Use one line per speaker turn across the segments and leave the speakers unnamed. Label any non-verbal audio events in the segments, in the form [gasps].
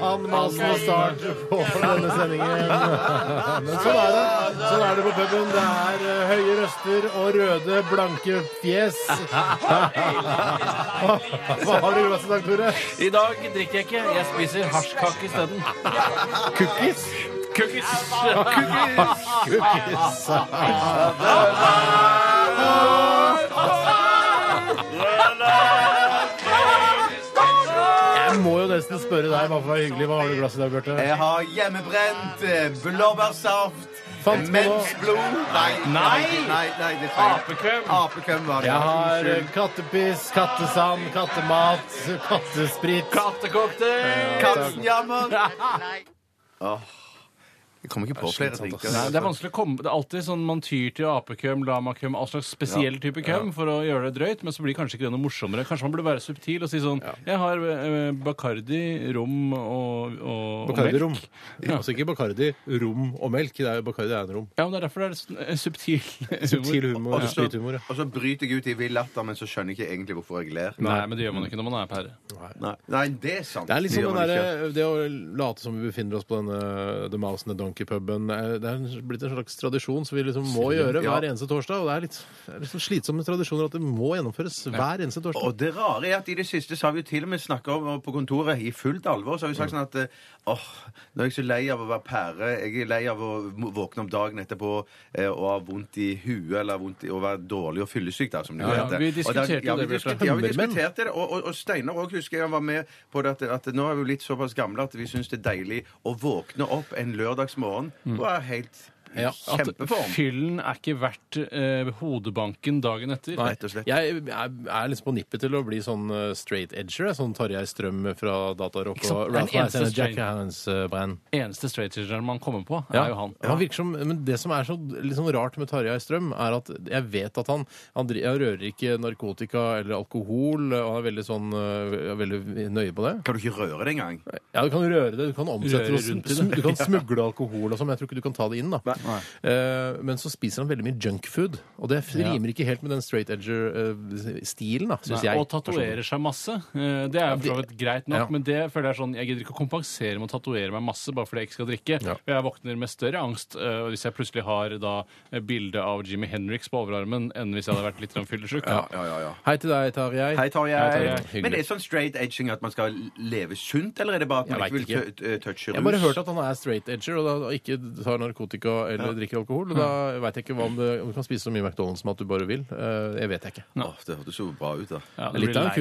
Anmasen og start
[laughs]
på denne sendingen. Men sånn er det. Sånn er det på puben. Det er eh, høye røster og røde, blanke
[laughs]
fjes. Hva har du i glasset i dag, Tore?
I dag drikker jeg ikke. Jeg spiser hasjkake isteden.
Cookies?
Cookies!
Cookies. Jeg må jo nesten spørre deg, bare for å være hyggelig, hva har du i glasset i dag, Bjarte?
Jeg har hjemmebrent eh, blåbærsaft,
Fant på noe.
mensblod Nei,
Nei!
nei, nei, det er feil.
Apekøm.
Apekøm var det.
Jeg har eh, kattepiss, kattesand, kattemat, kattesprit.
Kattecocktail!
[laughs]
Katzenjammer. Åh, Jeg kommer ikke på flere drinker.
Nei, det er vanskelig å komme Det er alltid sånn man tyr til apekøm, lamakøm, all slags spesiell type køm for å gjøre det drøyt, men så blir kanskje ikke det noe morsommere. Kanskje man burde være subtil og si sånn Jeg har eh, Bacardi, rom og, og, og melk.
Bacardi-rom. Altså ikke Bacardi, rom og melk. Det er jo Bacardi er en rom.
Ja, men det er derfor det er sn- eh, subtil humor.
Subtil humor.
Og så-
Sprithumor. ja.
Og så bryter jeg ut i vill latter, men så skjønner jeg ikke egentlig hvorfor jeg ler.
Nei, men det gjør man ikke når man er pære.
Nei, nei det er sant.
Det er liksom den
gjør man ikke.
derre- det å late som vi befinner oss på denne The Mouse and the Donkey-puben. eh, Det er en- blitt en slags tradisjon som vi liksom må gjøre
Ja.
hver eneste torsdag. Og det er litt, det er litt sånn slitsomme tradisjoner at det må gjennomføres hver eneste torsdag.
Og det rare er at i det siste så har vi jo til og med snakka om og på kontoret i fullt alvor. Så har vi sagt sånn at eh, åh, nå er jeg så lei av å være pære. Jeg er lei av å m- våkne om dagen etterpå eh, og ha vondt i huet eller vondt i, å være dårlig og fyllesyk, da, som det
Ja, ja,
heter.
vi
Og da-
diskuterte
ja,
jo det,
vi
Bjarte.
diskuterte- Ja, vi
Hummermenn.
diskuterte det. Og, og, og Steinar òg husker jeg han var med på det at, at nå er vi jo litt såpass gamle at vi syns det er deilig å våkne opp en lørdagsmorgen og er helt i
Ja, at
kjempeform.
Fyllen er ikke verdt eh, hodebanken dagen etter.
Rett og slett.
Jeg er, er liksom på nippet til å bli sånn eh, straight edger. jeg. Sånn Tarjei Strøm fra Datarock
sant?
og
Det er
Ralph
den eneste
Madsen og Jack eh,
straight-
Hans-band.
eneste straightedgeren man kommer på, er jo han.
Ja. Han virker som, men det som er så litt sånn rart med Tarjei Strøm, er at jeg vet at han, han, dri- han rører ikke narkotika eller alkohol, og han er veldig, sånn, øh, veldig nøye på det.
Kan du ikke røre det engang?
Ja, du kan røre det, du kan omsette det,
Røre
og
rundt i
sm-
[laughs]
du kan smugle alkohol og sånn, men jeg tror ikke du kan ta det inn, da. Eh, men så spiser han veldig mye junkfood, og det f-
Ja.
rimer ikke helt med den straight edger-stilen, da, synes
Nei,
jeg.
og tatoverer seg masse. Eh, Det er jo for så vidt greit nok,
Ja.
men det føler jeg er sånn Jeg gidder ikke å kompensere med å tatovere meg masse bare fordi jeg ikke skal drikke.
Ja.
Og Jeg våkner med større angst eh, hvis jeg plutselig har da eh, bilde av Jimmy Henriks på overarmen enn hvis jeg hadde vært litt sånn fyllesyk.
Ja, ja, ja.
Hei til deg, Tarjei.
Hei, Tarjei.
Hei, Tarjei.
Hyggelig.
Men det er sånn straight edging at man skal leve sunt, eller er det bare at man
Jeg
ikke vil
vet
tø- tø- touche
Jeg
rus?
har bare hørt at han er straight edger og da og ikke tar narkotika eller drikker alkohol. Og da veit jeg ikke hva om, det, om du kan spise så mye McDonald's som at du bare vil. Eh, Det vet jeg ikke.
Åh, det hørtes jo bra ut, da.
Ja, det
Litt
blir
av en
lei.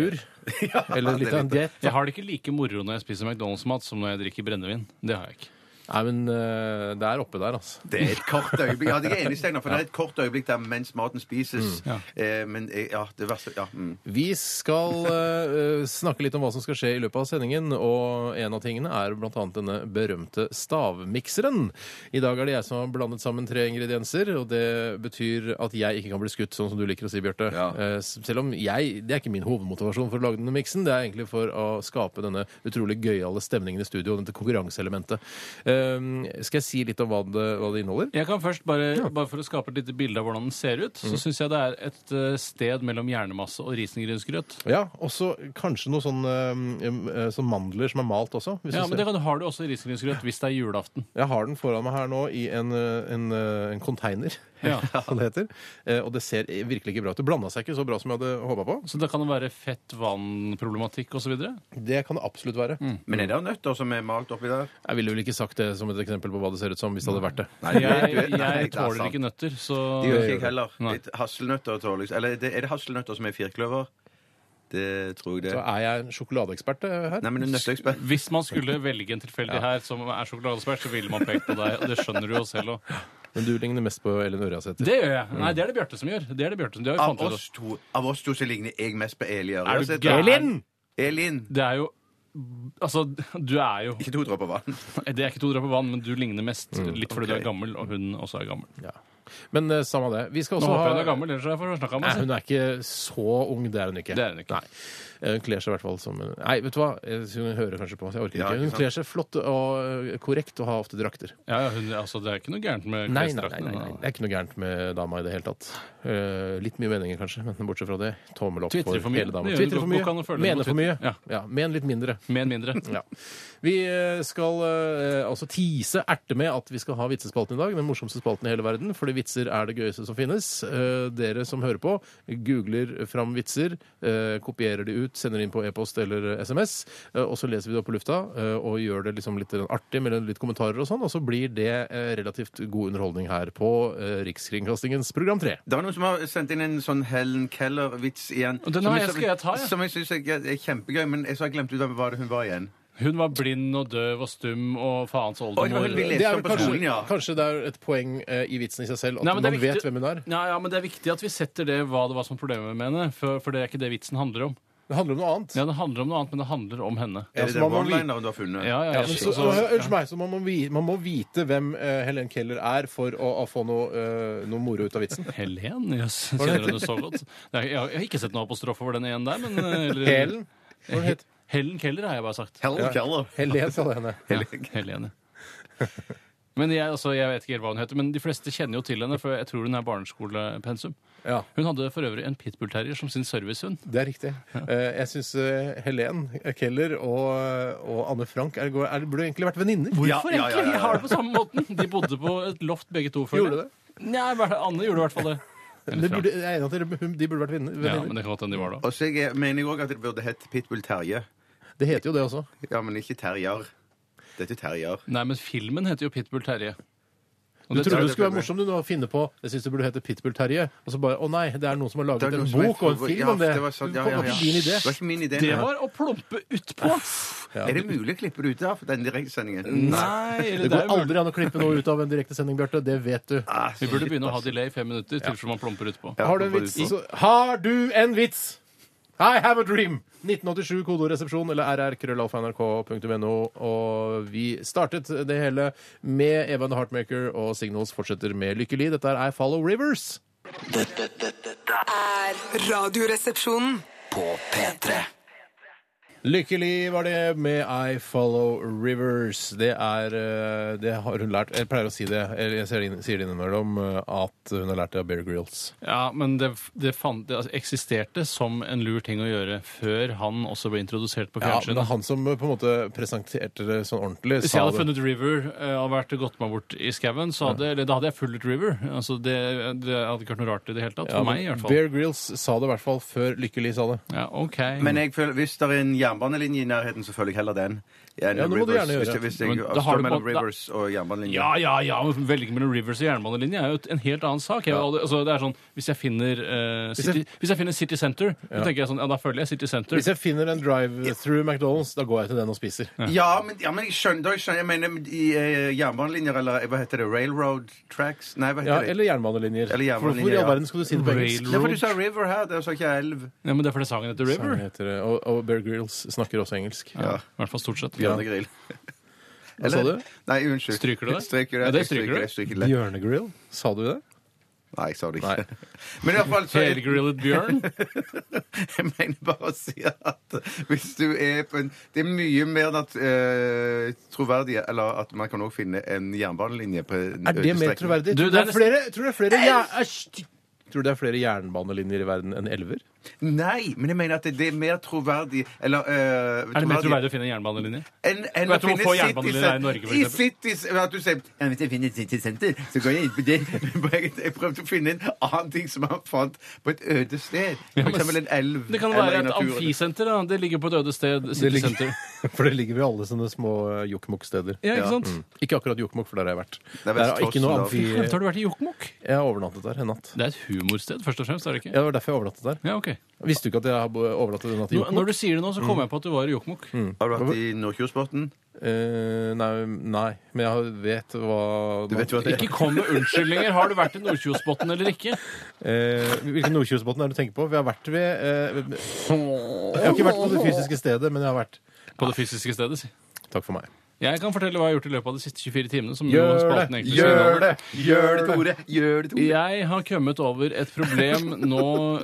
kur.
[laughs]
Eller litt av en diett.
Jeg har det ikke like moro når jeg spiser McDonald's-mat som når jeg drikker brennevin. Det har jeg ikke.
Nei, men eh, det er oppe der, altså.
Det er et kort øyeblikk. Ja, det er jeg enig, i, Steinar, for det er et kort øyeblikk der mens maten spises. Eh, men eh, ja, det verste Ja. Mm.
Vi skal eh, eh, snakke litt om hva som skal skje i løpet av sendingen, og en av tingene er bl.a. denne berømte stavmikseren. I dag er det jeg som har blandet sammen tre ingredienser, og det betyr at jeg ikke kan bli skutt, sånn som du liker å si, Bjarte.
Ja.
Eh, s- selv om jeg Det er ikke min hovedmotivasjon for å lage denne miksen, det er egentlig for å skape denne utrolig gøyale stemningen i studio, dette konkurranseelementet. Eh, skal jeg si litt om hva det, hva det inneholder?
Jeg kan først, bare, bare for å skape et lite bilde av hvordan den ser ut,
Mhm.
så syns jeg det er et eh, sted mellom hjernemasse og risengrynsgrøt.
Ja, og så kanskje noen sånne, eh, sånn mandler som er malt også. hvis
Ja,
du ser-
men det kan, har du også i risengrynsgrøt hvis det er julaften.
Jeg har den foran meg her nå i en, eh, en, eh, en container, [laughs]
Ja.
som det heter. Eh, Og det ser virkelig ikke bra ut. Det blanda seg ikke så bra som jeg hadde håpa på.
Så da kan det være fett-vann-problematikk osv.?
Det kan det absolutt være.
Mm.
Men er det nøtter som er malt oppi der?
Jeg ville vel ikke sagt det som et eksempel på hva det ser ut som, hvis det hadde vært det.
Nei,
Jeg, jeg
det er
tåler
sant.
ikke nøtter, så
Det gjør ikke jeg heller.
Nei.
Litt hasselnøtter tåler jeg Eller det, er det hasselnøtter som er firkløver? Det tror jeg det
Så
er.
er jeg en sjokoladeekspert eh, her.
Nei, men en nøtteekspert
Hvis man skulle velge en tilfeldig her som er sjokoladeekspert, så ville man pekt på deg, og det skjønner du jo selv òg.
Men du ligner mest på Ellen Ørjasæter.
Det gjør jeg. Nei, det er det Bjarte som gjør. Det er det Bjarte som det har vi
Av
fant ut av.
oss to, av oss to så ligner jeg mest på Eli
Er du
Ørjasæter.
gæren?
Elin!
Det er jo Altså, du er jo
Ikke to dråper vann.
Det er ikke to dråper vann, men du ligner mest. Litt fordi du er gammel, og hun også er gammel.
Ja. Men eh, samme det. Vi skal
Nå
også ha
håper jeg hun er gammel, ellers har jeg snakka
Nei,
med
hun er ikke så ung. Det er hun ikke.
Det er hun ikke.
Nei. Eh, Hun kler seg i hvert fall som en Nei, vet du hva? Eh, Hun hører kanskje på. så Jeg orker
Ja,
ikke.
ikke
Hun
sant?
kler seg flott og eh, korrekt og har ofte drakter.
Ja, ja, hun, altså, Det er ikke noe gærent
Nei,
med
nei, nei,
klesdrakten.
nei, nei.
da.
Det er ikke noe gærent med dama i det hele tatt. Eh, litt mye meninger, kanskje, men bortsett fra det, tommel opp
Tvitrer
for,
for mye.
hele dama.
Det gjør
Tvitrer
det
for
godt. Går ikke an å
mye.
føle det på
Mener for mye.
Twitter. Ja.
Ja, men litt mindre.
Med en mindre.
Ja. Vi eh, skal eh, altså tease, erte med at vi skal ha vitsespalten i dag. Den morsomste spalten i hele verden, fordi vitser er det gøyeste som finnes. Eh, dere som hører på, googler fram vitser, eh, kopierer de ut, sender inn på e-post eller eh, SMS, eh, og så leser vi det opp på lufta eh, og gjør det liksom litt artig med litt kommentarer og sånn, og så blir det eh, relativt god underholdning her på eh, Rikskringkastingens program 3.
Det var noen som har sendt inn en sånn Helen Keller-vits igjen.
Og den
som
har jeg- skal jeg ta, ja.
Som jeg syns er er kjempegøy, men jeg så har jeg glemt ut av hva det hun var igjen.
Hun var blind og døv og stum og faens
Oi, men hun
oldemor.
vil lese
Det er
om
vel
på skolen,
kanskje,
ja.
kanskje det er et poeng eh, i vitsen i seg selv at
Nei, men det er
man
viktig-
vet hvem hun er.
Ja, ja, men Det er viktig at vi setter det hva det var som problemet med henne, for, for det er ikke det vitsen handler om.
Det handler om noe annet.
Ja, Det handler om noe annet, men det handler om henne.
Er
så
det den
man må vite-
one-lineren du har
Ja,
funnet?
Altså, ja,
Ja,
jeg
men så,
synes
så,
også-
unnskyld meg, så man, må vi, man må vite hvem eh, Helen Keller er for å, å få noe, eh, noe moro ut av
[laughs]
vitsen.
Helen? Jøss, kjenner hun det så godt? Nei, Jeg har, jeg har ikke sett noe apostrofe over den ene der, men eh, eller,
Helen? Hva het
Helen Keller har jeg bare sagt.
Helen Keller.
Helen, sa det henne.
Ja, Helen, ja. Men jeg, altså, jeg vet ikke helt hva hun heter, men de fleste kjenner jo til henne, for jeg tror hun er barneskolepensum.
Ja,
Hun hadde for øvrig en pitbullterrier som sin servicehund.
det er riktig. Eh, jeg syns eh, Helen Keller og, og Anne Frank er, er, burde egentlig vært venninner.
Hvorfor
ja, ja,
egentlig?
ja, ja.
Vi har det på samme måten. De bodde på et loft begge to. føler
Gjorde
jeg. Nei, bare- Anne gjorde i hvert fall det.
Det burde, jeg er enig at dere- hun- de burde vært venner-
Ja, men
venninner.
det kan godt hende de var det også.
Og så jeg er- mener jeg òg at det burde hett Pitbull Terje.
det heter jo det også.
Ja, men ikke Terjer. Dette er Terjer.
Nei, men filmen heter jo Pitbull Terje. Og
Du
det-
trodde
det
det skulle være
ble-
morsomt du nå å finne på Jeg syns det burde hete Pitbull Terje, og så bare Å nei, det er noen som har
Det er
laget en
noe som er-
bok og en film
ja,
om det.
det var sånn- ja, ja, ja.
ikke din idé.
Det var ikke min idé.
Det
nei.
var å plumpe utpå!
Er det mulig å klippe det ut av den direktesendingen?
Nei, eller
Det
det
går
er jo
aldri an å klippe noe ut av en direktesending, Bjarte. Det vet du.
Ah,
Vi burde
shit,
begynne å ha
altså.
delay i fem minutter til som man plumper utpå.
Ja,
Har du en
bare
vits?
ut.
Så, har du en vits? I have a dream! 1987 kodoresepsjon eller rrkrøllalfa.nrk.no. Og vi startet det hele med Evan the Heartmaker, og Signals fortsetter med Lykkelig. Dette er I Follow Rivers.
Dette, dette, dette er
Er Radioresepsjonen.
på P3.
Lykkelig var det med I Follow Rivers. Det er eh, Det har hun lært Jeg pleier å si det, eller jeg ser det inn- sier det innimellom, eh, at hun har lært det av Bear Grylls.
Ja, men det, det, fant, det altså, eksisterte som en lur ting å gjøre før han også ble introdusert på
Ja, men det
fjernsynet.
er han som eh, på en måte presenterte det sånn ordentlig.
Hvis
sa
jeg hadde
det.
funnet River eh, og vært gått meg bort i skauen, så hadde, eller, da hadde jeg fulgt River. Altså, det, det hadde ikke vært noe rart i det hele tatt.
Ja,
For
men
meg, i hvert fall.
Bear Grylls sa det i hvert fall før Lykkelig sa det.
Ja, ok.
Men jeg føler, hvis det er en jernbanelinje i nærheten, så følger jeg heller den. Ja,
det må du gjerne gjøre.
Hvis jeg, hvis jeg,
Men da har du
står
på-
mellom
da-
Rivers og jernbanelinje.
ja, ja, ja. men Velge mellom Rivers og jernbanelinje er jo et- en helt annen sak. Jeg, hadde- altså, det er sånn, Hvis jeg finner, eh, City, hvis jeg finner City Center, så tenker jeg sånn, ja, da følger jeg City Center.
Hvis jeg finner en drive-through McDonald's, da går jeg til den og spiser.
Ja, men, ja, men jeg skjønner, da skjønner jeg mener i eh, jernbanelinjer eller hva heter det, railroad tracks? Nei, hva
Ja,
heter
eller jernbanelinjer.
Eller jernbanelinjer,
For Hvor i all
ja.
verden skal du si det på engelsk?
det? Ja, for du sa river her, der sa ikke jeg elv.
Ja, men Det er fordi sangen heter River.
Sånn heter det. Og, og Bear Grylls snakker også engelsk.
Ja. I hvert fall stort sett. [laughs]
Bjørnegrill.
Hva sa du?
Nei, unnskyld.
Stryker du det?
Stryker
Ja, det
det. Jeg
stryker du.
det. Jeg stryker det.
Bjørnegrill? Sa du det?
Nei, jeg sa det ikke. [laughs] Men i hvert fall så jeg,
Helgrillet
[laughs]
bjørn.
[laughs] jeg mener bare å si at hvis du er på en Det er mye mer at, eh, troverdig Eller at man kan også finne en jernbanelinje på en
Er det mer
strekning.
troverdig?
Du,
Tror det
det
er
er
flere, tror det er flere, ja, æsj, tror det er flere jernbanelinjer i verden enn elver?
Nei, men jeg mener at det er mer troverdig Eller eh,
Er det mer troverdig å finne en jernbanelinje?
enn, enn å
Vet du hvor
finne
få
City
jernbanelinjer er i Norge, for
Center. I
eksempel?
City Center At du sier «Ja, Hvis jeg finner City Center, så går jeg inn på det. Men Jeg jeg prøvde å finne en annen ting som han fant på et øde sted. For
men-
eksempel en elv.
Det kan
eller
være
i
et
naturen.
amfisenter. da. Det ligger på et øde sted.
[laughs] Det
City
ligger- [laughs]
Center.
For det ligger ved alle sånne små eh, jokkmokk-steder.
Ja, ikke sant?
Mm. Ikke akkurat jokkmokk, for der har jeg vært.
er
Det er ikke noe
Vesterålen, da.
amfi...
Glemte, har du vært i Jokkmokk?
Jeg har overnattet der en natt.
Det er et humorsted, først og fremst. er det ikke?
Ja, det var derfor jeg overnattet der.
Ja, ok.
Visste du ikke at jeg har bo- overnattet en natt i
Nå,
Jokkmokk? Mm.
når du sier det nå, så kommer jeg på at du var i Jokkmokk.
Har du vært i Nordkjosbotn?
Eh, nei, nei, men jeg vet hva
Du vet hva det
Ikke kom med unnskyldninger. Har du vært i Nordkjosbotn eller ikke?
Eh, Hvilken Nordkjosbotn er det du tenker på? Vi har vært ved eh, Jeg har ikke vært på det fysiske stedet, men jeg har vært
På det fysiske stedet, si.
Takk for meg.
Jeg kan fortelle hva jeg har gjort i løpet av de siste 24 timene. som jo
Gjør
spalten
det!
egentlig skal
Gjør
inneholde.
det!
Gjør det, Tore! Gjør det, Tore!
Jeg har kommet over et problem nå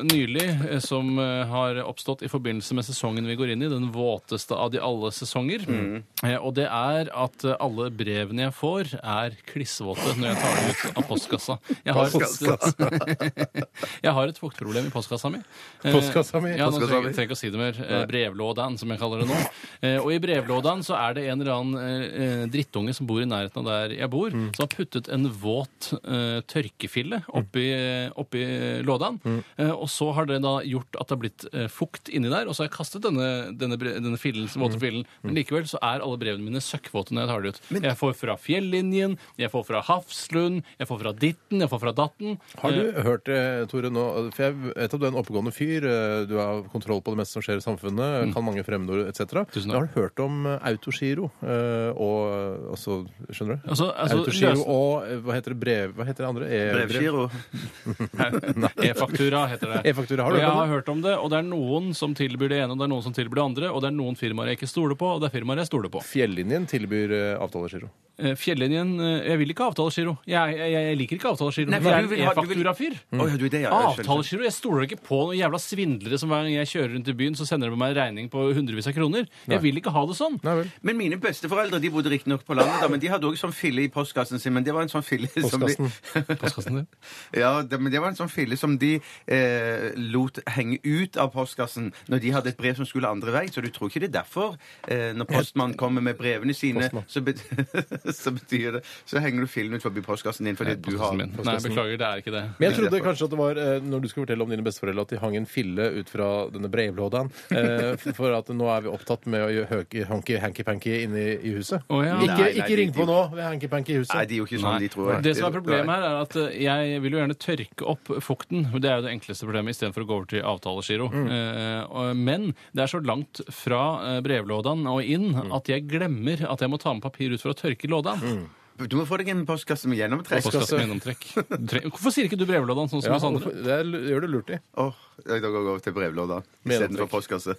nylig eh, som eh, har oppstått i forbindelse med sesongen vi går inn i, den våteste av de alle sesonger. Eh, Og det er at eh, alle brevene jeg får, er klissvåte når jeg tar dem ut av postkassa. Jeg har, [laughs] jeg har et fuktproblem i postkassa mi. Eh,
Postkassa mi?
Ja, nå
Postkassa
trenger
mi.
jeg trenger ikke å si det mer. Eh, Brevlådan, som jeg kaller det
[laughs]
nå. Eh, Og i brevlådan så er det en eller annen eh, eh, drittunge som bor i nærheten av der jeg bor,
Mm.
som har puttet en våt eh, tørkefille oppi, eh, oppi lådan.
Mm.
Eh, Og så har det da gjort at det har blitt eh, fukt inni der, og så har jeg kastet denne, denne, bre- denne fillen,
Mm.
våte fillen. Men likevel så er alle brevene mine søkkvåte når jeg tar det ut. Jeg får fra Fjellinjen, jeg får fra Hafslund, jeg får fra Ditten, jeg får fra Datten.
Har
Eh,
du hørt det, Tore, nå? For jeg vet at du er en oppegående fyr. eh, Du har kontroll på det meste som skjer i samfunnet. Kan mange fremmedord etc.
Mm. Tusen takk.
Men Har du hørt om eh, autogiro eh, og eh, altså, Skjønner du?
Altså- altså,
autogiro [laughs]
løs-
og eh, hva heter det brev... Hva heter det andre? E
Brevgiro.
[laughs] E-faktura heter
[laughs]
det.
E-faktura, har du
og
hørt
jeg
om
har
det?
hørt om det, og det er noen som tilbyr det ene, og det er noen som tilbyr det andre, og det er noen firmaer jeg ikke stoler på, og det er firmaer jeg stoler på.
Fjellinjen tilbyr eh, avtalegiro.
Eh, Fjellinjen eh, Jeg vil ikke avtalegiro. Jeg, jeg, jeg liker ikke avtalegiro.
Nei,
Jeg
for
er
du
en
vil ha- du vil-
e-faktura-fyr.
Å, ja, du, det er jeg, jeg skjønner.
Avtalegiro? Jeg stoler ikke på noen jævla svindlere som hver gang jeg kjører rundt i byen, så sender de meg en regning på hundrevis av kroner.
Nei.
Jeg vil ikke ha det sånn.
Nei vel.
Men mine besteforeldre de bodde riktignok på landet, da, men de hadde òg sånn fille i postkassen sin. Men det var en sånn fille som de, [laughs]
Postkassen din.
ja, det, men det var en sånn fille som de eh, lot henge ut av postkassen når de hadde et brev som skulle andre vei. Så du tror ikke det er derfor? Eh, når postmannen kommer med brevene sine,
Postmann.
så, bet [laughs] så betyr det Så henger du fillen ut forbi postkassen din fordi du har
Postkassen min. Nei, beklager, det er ikke det.
Men jeg
Det er
trodde
derfor.
kanskje at det var eh, når du skulle fortelle om dine besteforeldre, at de hang en fille ut fra denne brevlådaen. [laughs] eh, For for at nå er vi opptatt med å gjøre hanky-panky inne i- i huset.
Å, ja.
Ikke,
Nei, nei,
ikke ring
de-
på nå! Det er hanky-panky i huset.
Nei, de er jo ikke
Nei.
sånn, de tror jeg.
Det som er problemet her, er at eh, jeg vil jo gjerne tørke opp fukten. og Det er jo det enkleste problemet, istedenfor å gå over til avtalegiro. Eh, og- Men det er så langt fra eh, brevlådan og inn at jeg glemmer at jeg må ta med papir ut for å tørke lådan.
Du må få deg en postkasse med gjennomtrekk.
Postkasse med gjennomtrekk. Tre- Hvorfor sier ikke du brevlådan sånn som
Ja,
oss andre?
det er, gjør du lurt i.
Åh, da går jeg over til brevlåda
Med
istedenfor
gjennomtrekk.
postkasse.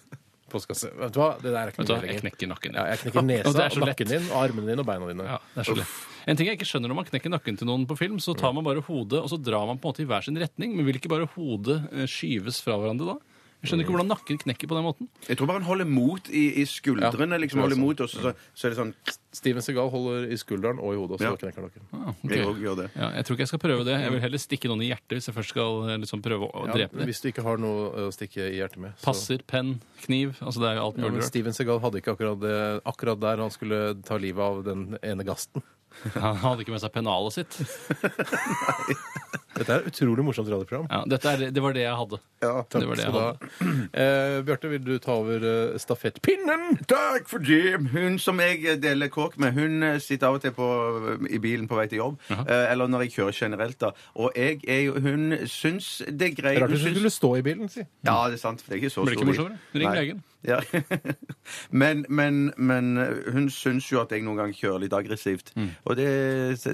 Postkasse. Vet du hva, det der er ikke
Vet du
noe
hva, Jeg knekker nakken.
Ja, jeg knekker
Og [laughs] det
nesa,
er så
og
lett.
nakken din, og armene dine og beina dine.
Ja, det er så lett. En ting jeg ikke skjønner Når man knekker nakken til noen på film, så tar man bare hodet og så drar man på en måte i hver sin retning. Men vil ikke bare hodet eh, skyves fra hverandre da? Jeg skjønner ikke hvordan nakken knekker på den måten.
Jeg tror bare han holder mot i, i skuldrene,
Ja,
liksom
tror jeg også.
holder mot, og så, så, så er det sånn
Steven Segal holder i skulderen og i hodet, og så
Ja.
da knekker nakken.
Ah, ok.
Jeg også gjør det.
Ja, jeg tror ikke jeg skal prøve det. Jeg vil heller stikke noen i hjertet hvis jeg først skal eh, liksom, prøve å
Ja,
drepe dem.
hvis du ikke har noe eh, å stikke i hjertet med. så-
Passer, penn, kniv. Altså det er jo alt
Ja,
mulig
men
rart.
Steven Segal hadde ikke akkurat, det, akkurat der han skulle ta livet av den ene gasten.
[laughs] Han hadde ikke med seg pennalet sitt.
Dette er et utrolig morsomt radioprogram.
Ja, dette er, det var det jeg hadde. det var det jeg hadde.
Eh, Bjarte, vil du ta over eh, stafettpinnen?
Takk for det! Hun som jeg eh, deler kåk med, hun eh, sitter av og til på, i bilen på vei til jobb. eh, Eller når jeg kjører generelt, da. Og jeg er jo Hun syns det er greit.
Rart
Hun
hvis du
syns-
skulle stå i bilen, si.
Ja, det er sant. for Det er ikke så
Blir det ikke
stor
morsommere?
bil.
Ring
Nei.
legen.
Ja. [laughs] men, men, men eh, hun syns jo at jeg noen ganger kjører litt aggressivt.
Mm.
Og det,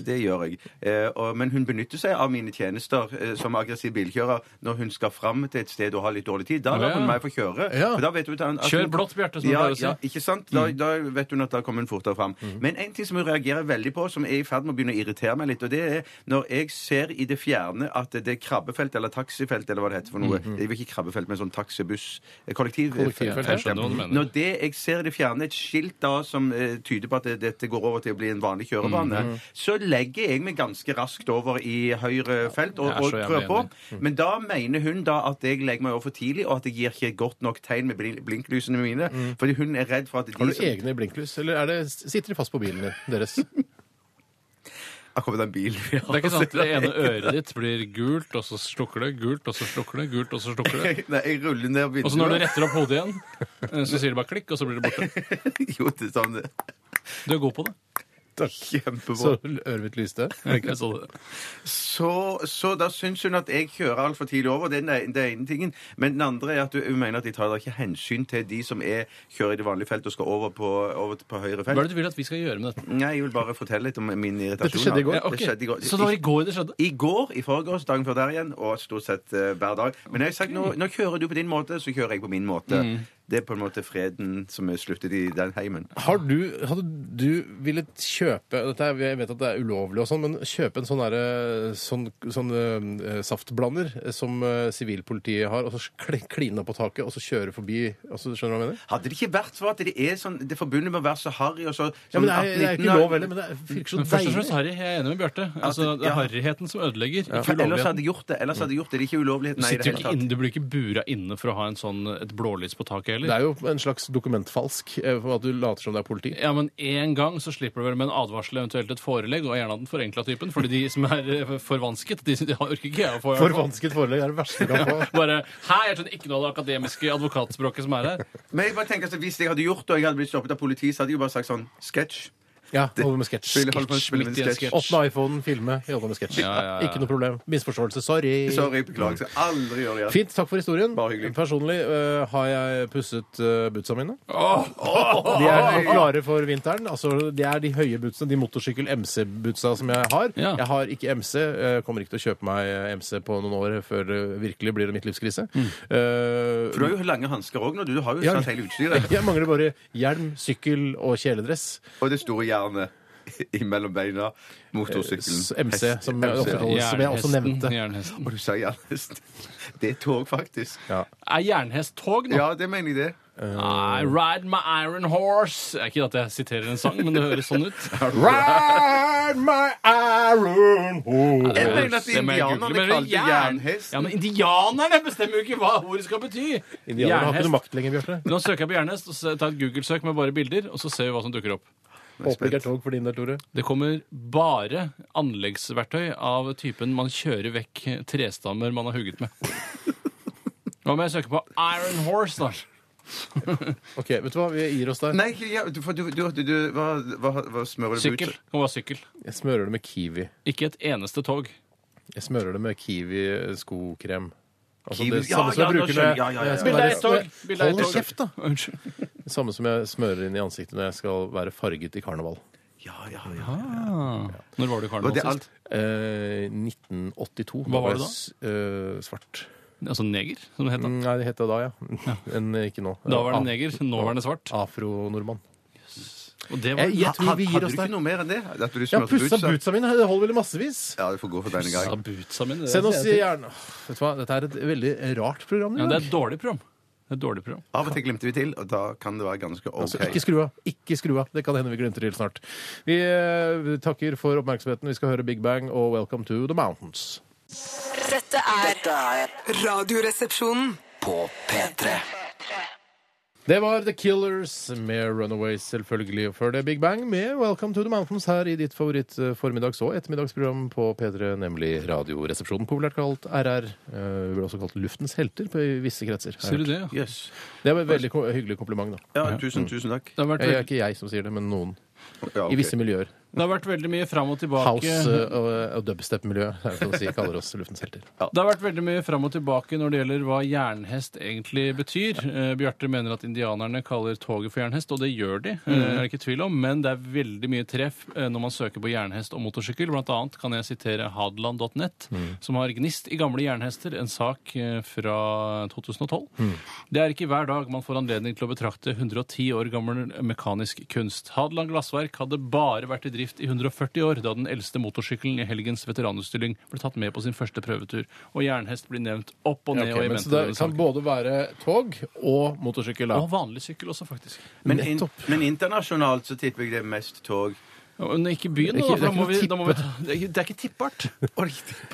det gjør jeg. Eh, og, men hun benytter seg av mine tjenester eh, som aggressiv bilkjører når hun skal fram til et sted og har litt dårlig tid. Da lar
Ja.
hun meg få kjøre.
Ja.
For da vet hun at hun, at
Kjør
hun-
blått, Bjarte, som du Mm.
Altså, ja,
pleier å si.
ja, ikke sant? Da, da vet hun at da kommer hun fortere fram. Men en ting som hun reagerer veldig på, som er i ferd med å begynne å irritere meg litt, og det er når jeg ser i det fjerne at det er krabbefelt eller taxifelt eller hva det heter for
Mm,
noe. Jeg vil ikke krabbefelt, men sånn taxibuss. eh, Kollektiv.
Kollektivfelt,
jeg skjønner hva du mener.
Når det jeg ser i det fjerne, et skilt da som eh, tyder på at det, dette går over til å bli en vanlig kjørebane,
Mm,
så legger jeg meg ganske raskt over i høyre felt og,
jeg er
og
så jævlig
prøver på.
enig.
Mm. Men da mener hun da at jeg legger meg over for tidlig, og at jeg gir ikke godt nok tegn med blin- blinklysene mine.
Mm.
Fordi hun er redd for at de
Har du
som-
egne blinklys, eller er det, sitter de fast på bilen din, deres?
[laughs]
Her kommer det en bil.
Det er ikke sant. Det
[laughs]
ene øret ditt blir gult, og så slukker det, gult, og så slukker det, gult, og så slukker
[laughs]
det.
Nei, jeg ruller ned vinduet.
Og så når du retter opp hodet igjen,
[laughs]
eh, så sier det bare klikk, og så blir det borte.
jo, det er sånn.
Du er god på det.
Kjempebra.
Så ørmet lyste.
Jeg så det.
Så, så da syns hun at jeg kjører altfor tidlig over. Det er den det er ene tingen. Men den andre er at hun mener at de tar da ikke hensyn til de som er, kjører i det vanlige felt og skal over på, over på høyre
Hva
felt.
er det du vil at vi skal gjøre med dette?
Nei, jeg vil bare fortelle litt om min irritasjon.
Dette skjedde i går?
Ja, ok. Det skjedde i går.
Så det var i går det skjedde?
I går, i forgårs, dagen før der igjen, og stort sett eh, hver dag. Men jeg har sagt, nå, nå kjører du på din måte, så kjører jeg på min måte.
Mm.
Det er på en måte freden som er sluttet i den heimen.
Har du, hadde du villet kjøpe dette er, Jeg vet at det er ulovlig, og sånn, men kjøpe en sånn, derre- sånn, sånn eh, saftblander som eh, sivilpolitiet har, og så kli- kline opp på taket og så kjøre forbi? Altså, skjønner du hva jeg mener?
Hadde det ikke vært for at det er sånn Det er forbundet med å være så harry og så sånn
Ja, men det er, det er ikke lov heller, men
men
det er- virker så
Men først og fremst
deilig.
Harry, jeg er enig med Bjarte. Altså, det
ja.
er harryheten som ødelegger. Ikke
Ellers hadde
ulovligheten.
jeg gjort det. Ellers hadde jeg gjort det. Det er ikke
Du,
ulovligheten. nei, i det
sitter jo
hele
ikke
tatt.
inne, du blir ikke bura inne for å ha en sånn, et blålys på taket
Det er
heller.
jo en slags dokumentfalsk, eh, for at du later som det er politi.
Ja, men Én gang så slipper du vel med en advarsel, eventuelt et forelegg, og gjerne av den forenkla typen. Fordi de som er eh, forvansket, de, de orker ikke jeg å få. i hvert fall.
Forvansket forelegg er det verste du kan få.
Bare Hei, jeg skjønner ikke noe av det akademiske advokatspråket som er her.
Men jeg bare tenker altså, Hvis jeg hadde gjort det, og jeg hadde blitt stoppet av politiet, så hadde jeg jo bare sagt sånn
[laughs]
sketsj.
Ja, over med sketsj.
Ville holde på å spille med en
midt i en
sketsj.
sketsj.
Åpne iPhonen, filme, jobbe med sketsj.
Ja, ja, ja.
Ikke noe problem. Misforståelse. Sorry.
Sorry, beklager. Skal aldri gjøre det igjen.
Mm. Fint. Takk for historien.
Bare hyggelig.
Personlig øh, har jeg pusset øh, bootsa mine.
Åh,
De er
oi.
klare for vinteren. Altså, det er de høye bootsene, de motorsykkel-MC-bootsa som jeg har.
Ja.
Jeg har ikke MC. øh, kommer ikke til å kjøpe meg øh, MC på noen år før det virkelig blir en midtlivskrise.
Mm.
Eh,
For du har jo lange hansker òg nå. Du har jo
Ja.
sånn hele utstyret.
[laughs] jeg mangler bare hjelm, sykkel og kjeledress.
Og det store jernet imellom beina. Motorsykkelen.
Eh, S- MC,
Hest-
som jeg, ofte kaller- som jeg også
Jernhesten,
nevnte.
Jernhesten.
Og du sa jernhest. Det er tog, faktisk.
Ja.
Er jernhest tog nå?
Ja, det mener jeg det.
I ride my iron horse. Det er ikke at jeg siterer en sang, men det høres sånn ut.
Ride my iron horse.
Jeg mener at indianerne kalte det jernhest.
Ja, men indianerne bestemmer jo ikke hva ordet skal bety!
Indianerne har ikke noe makt lenger, Bjarte.
Nå søker jeg på jernhest, og så tar jeg et Google-søk med bare bilder, og så ser vi hva som dukker opp.
Håper det ikke er tog for din del, Tore.
Det kommer bare anleggsverktøy av typen man kjører vekk trestammer man har hugget med. Hva om jeg søker på Iron Horse, da?
Ok, vet du hva? Vi gir oss der.
Nei, ikke ja, du, for du, du, du, hva, hva, hva smører du på
Sykkel.
ut?
Det kan være sykkel.
Jeg smører det med kiwi.
Ikke et eneste tog.
Jeg smører det med kiwi-skokrem. Altså
Kiwi-
det samme som
Ja,
jeg
ja, nå
bruker
skjønner
når
jeg. Ja, ja, ja, ja.
jeg-
Bilde
av et tog. Bilde av et
Hold
tog.
kjeft, da!
Unnskyld.
Det samme som jeg smører inn i ansiktet når jeg skal være farget i karneval.
Ja, ja, ja.
Når var du i
Og det
karneval
er alt.
sist?
Eh, 1982.
Hva var det da?
s- eh, svart.
Altså neger, som det het da.
Mm, Nei, det het det da, ja. [laughs] Men ikke nå.
Da var det
Af-
neger, nå var det svart.
Afronordmann.
Og det
Jeg-
var
jeg tror vi gir
Hadde
oss
du ikke
der.
noe mer enn det? At du
Jeg har
smørte
pussa
bootsa?
bootsa mine. Det holder vel i massevis.
Ja, du får gå for denne
Ja,
gangen.
bootsa mine. det er-
Send oss gjerne Åh, Vet du hva, dette er et veldig rart program i
Ja, det er
dag.
et dårlig program. Det er et dårlig program.
Av og til glimter vi til, og da kan det være ganske
Altså,
OK.
Ikke skru av. Ikke skru av. Det kan hende vi glemte til snart. Vi eh, takker for oppmerksomheten. Vi skal høre Big Bang og Welcome to the Mountains.
Dette er
Dette er
Radioresepsjonen.
på P3.
Det var The Killers med Runaways, selvfølgelig. Og før det Big Bang med Welcome to the Mountains her i ditt favoritt-formiddags- og ettermiddagsprogram på P3, nemlig Radioresepsjonen, populært kalt RR. Eh, Vi ble også kalt Luftens helter på i visse kretser.
Sier du det? ja?
Yes.
Det var et veldig ko- hyggelig kompliment, da.
Ja, tusen, tusen takk.
Det har vært,
Det er
veld...
ikke jeg som sier det, men noen.
Ja, ok.
I visse miljøer.
det har vært veldig mye fram og tilbake.
House- eh, og, og dubstep-miljøet er det for å si, kaller oss Luftens helter.
Det har vært veldig mye fram og tilbake når det gjelder hva jernhest egentlig betyr. Eh, Bjarte mener at indianerne kaller toget for jernhest, og det gjør de.
Mm.
eh, er det ikke tvil om, Men det er veldig mye treff eh, når man søker på jernhest og motorsykkel. Blant annet kan jeg sitere hadeland.net,
Mm.
som har Gnist i gamle jernhester, en sak eh, fra 2012.
Mm.
Det er ikke hver dag man får anledning til å betrakte 110 år gammel mekanisk kunst. Hadeland Glassverk hadde bare vært i drift i 140 år da den eldste motorsykkelen i helgens veteranutstilling ble tatt med på sin første prøvetur. Og jernhest blir nevnt opp og
Ja,
ned
ok,
og i
men så
mente.
det kan
denne saken.
både være tog og motorsykkel?
Og
Da.
vanlig sykkel også, faktisk.
Men, in,
Nettopp.
men internasjonalt så tipper jeg det er mest tog.
Ja, Men ikke i
Det er
byen, da.
ikke-
for
det er
da må
ikke
vi,
noe
da må vi ta, det, er ikke, det er ikke tippbart.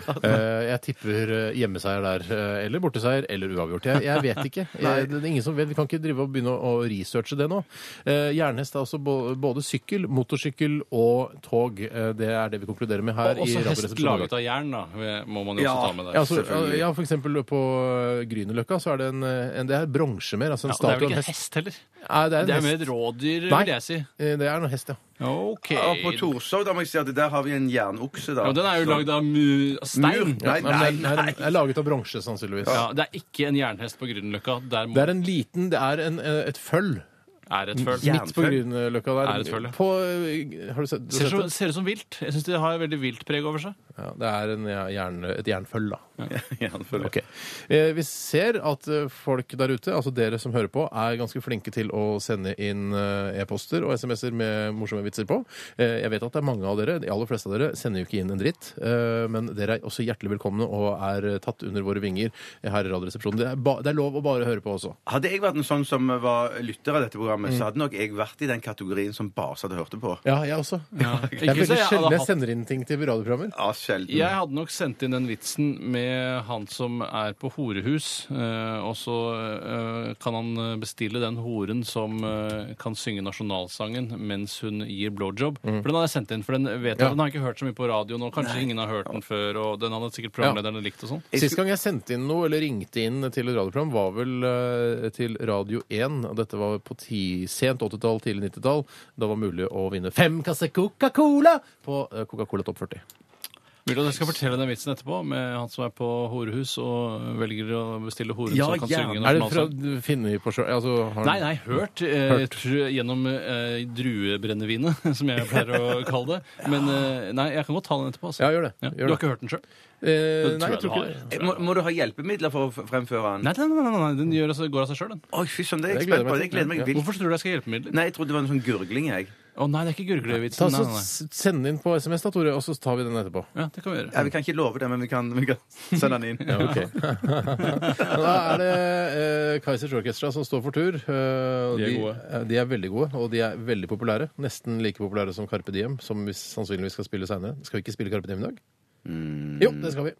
Eh, jeg tipper eh, hjemmeseier der, eh, eller borteseier, eller uavgjort. Jeg, jeg vet
[laughs]
ikke. Jeg, det er ingen som vet. Vi kan ikke drive og begynne å å researche det nå. Eh, jernhest er altså bo- både sykkel, motorsykkel og tog. Eh, det er det vi konkluderer med her.
Og også
i
hest
Radioresepsjonen.
laget av jern, da, må man jo
Ja.
også ta med
Ja,
der.
altså, ja, for eksempel på eh, Grünerløkka så er det en, eh, en det er bronse mer, altså en
Ja, og det er
statue
vel
av
ikke
en
en
hest.
hest heller.
Nei, det er
Det
en
er mer
hest.
et rådyr,
Nei.
vil jeg si.
Eh, Det er en hest, ja.
OK.
Ja, på Torshov da må jeg si at der har vi en jernokse. da.
Ja, den er jo
Så-
lagd av mu- stein.
Mur?
Nei,
Nei,
men
nei,
den
[laughs]
er,
nei.
den er laget av bronse, sannsynligvis.
Ja, det er ikke en jernhest på Grünerløkka. Der
Det
må
er en liten Det er en, eh, et føll
er et føl. Ser
Ja.
midt på Grünerløkka der.
Er et føll, ja.
På, eh, har du sett, du har sett
som-
det?
Ser ut som vilt. Jeg syns det har veldig vilt preg over seg.
Ja, det er en ja, jern, et jernføll, da.
Jernfølge.
Ok. Eh, Vi ser at eh, folk der ute, altså dere som hører på, er ganske flinke til å sende inn eh, e-poster og SMS-er med morsomme vitser på. Eh, Jeg vet at det er mange av dere, de aller fleste av dere, sender jo ikke inn en dritt. eh, Men dere er også hjertelig velkomne og er eh, tatt under våre vinger her i Radioresepsjonen. Det er, ba det er lov å bare høre på også.
Hadde jeg vært en sånn som var lytter av dette programmet, så hadde nok jeg vært i den kategorien som bare satt og hørte på.
Ja, jeg også. Det er
Ikke
veldig
så jeg hadde
sjelden jeg
hatt-
sender inn ting til radioprogrammer.
Ja, sjelden.
Jeg hadde nok sendt inn den vitsen med han som er på horehus, eh, og så eh, kan han bestille den horen som eh, kan synge nasjonalsangen mens hun gir blowjob. For den hadde jeg sendt inn, for den vet
Mm.
jeg,
Ja.
den har jeg ikke hørt så mye på radioen, og kanskje ingen har hørt den før, og den hadde sikkert programlederne likt og sånn.
Sist gang jeg sendte inn noe, eller ringte inn til et radioprogram, var vel eh, til Radio 1. og Dette var på ti, sent 80-tall, tidlig 90-tall. Da var det mulig å vinne fem kasser Coca-Cola på eh, Coca-Cola Topp 40.
Vil du at jeg skal fortelle den vitsen etterpå, med han som er på horehus og velger å bestille horen
Ja,
som kan synge
gjerne.
Er det fra
nasjonalsang?
du finner på sjøl? Altså, har den-
altså- Nei, nei, hørt, eh, jeg tror gjennom eh, druebrennevinet, [laughs] som jeg pleier å kalle det. Men eh, nei, jeg kan godt ta den etterpå. Altså.
Ja, gjør det.
Ja.
Gjør
Du har
det.
ikke hørt den sjøl?
Eh,
Den
nei, jeg
tror jeg du
tror
har.
ikke det.
Må, må du ha hjelpemidler for å f- fremføre den?
Nei, nei, nei, nei, nei, den gjør altså, går av seg sjøl, den.
Oi, fy søren, det er jeg
Jeg gleder
spent på.
meg
Jeg gleder meg
til-
vilt.
Hvorfor tror du jeg skal ha hjelpemidler? Å
Nei, jeg trodde det var en sånn gurgling, jeg.
nei, det er ikke
Ta, så,
gurglevitsen. Nei, nei, nei.
s- send den inn på SMS, da, Tore, og så tar vi den etterpå.
Ja, det kan vi
Ja,
gjøre.
vi kan ikke love det, men vi kan, vi kan sende den inn.
Ja, ok. [laughs] da er det eh, Kaizers Orchestra som står for tur. Eh,
De er
de,
gode.
eh, de er veldig gode, og de er veldig populære. Nesten like populære som Carpe Diem, som vi sannsynligvis skal spille seinere. Skal vi ikke spille Carpe Diem i dag?
Mm.
Jo, det skal vi.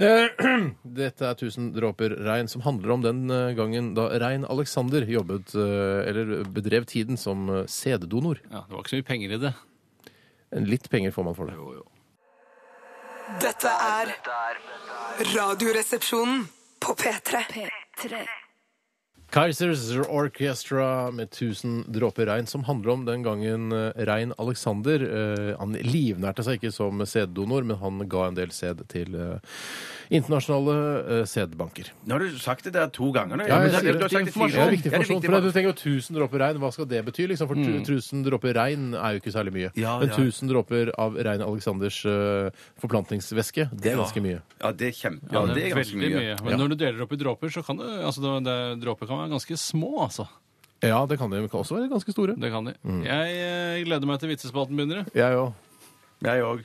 Eh, [clears throat] dette er 1000 dråper regn, som handler om den eh, gangen da Rein Alexander jobbet, eh, eller bedrev tiden som eh, sæddonor.
Ja, det var ikke så mye penger i det.
Litt penger får man for det.
Dette er Radioresepsjonen på P3.
Kaizers Orchestra med 1000 dråper regn, som handler om den gangen eh, Rein Alexander eh, Han livnærte seg ikke som sæddonor, men han ga en del sæd til eh, internasjonale eh, sædbanker.
Nå har du sagt det der to ganger. nå.
Ja, jeg
men det-
sier
du har
det.
sagt
Ja,
det fire
det
ganger.
er viktig
Ja, det er
informasjon. For
viktig
da- du tenker jo 1000 dråper regn, hva skal det bety? Liksom? For tu- 1000 dråper regn er jo ikke særlig mye.
Ja,
Men
ja.
1000 dråper av Rein Alexanders eh, forplantningsvæske, det er ganske mye.
Ja, det er kjempe... Ja,
Ja,
det er ganske
veldig mye.
mye.
Men når du deler opp i dråper, så kan det, altså, det, det, dråper kan være ganske små, altså.
Ja, det kan det men kan også være ganske store.
Det kan de. Jeg eh, gleder meg til vitsespalten begynner. jeg.
Jeg òg.
Jeg òg.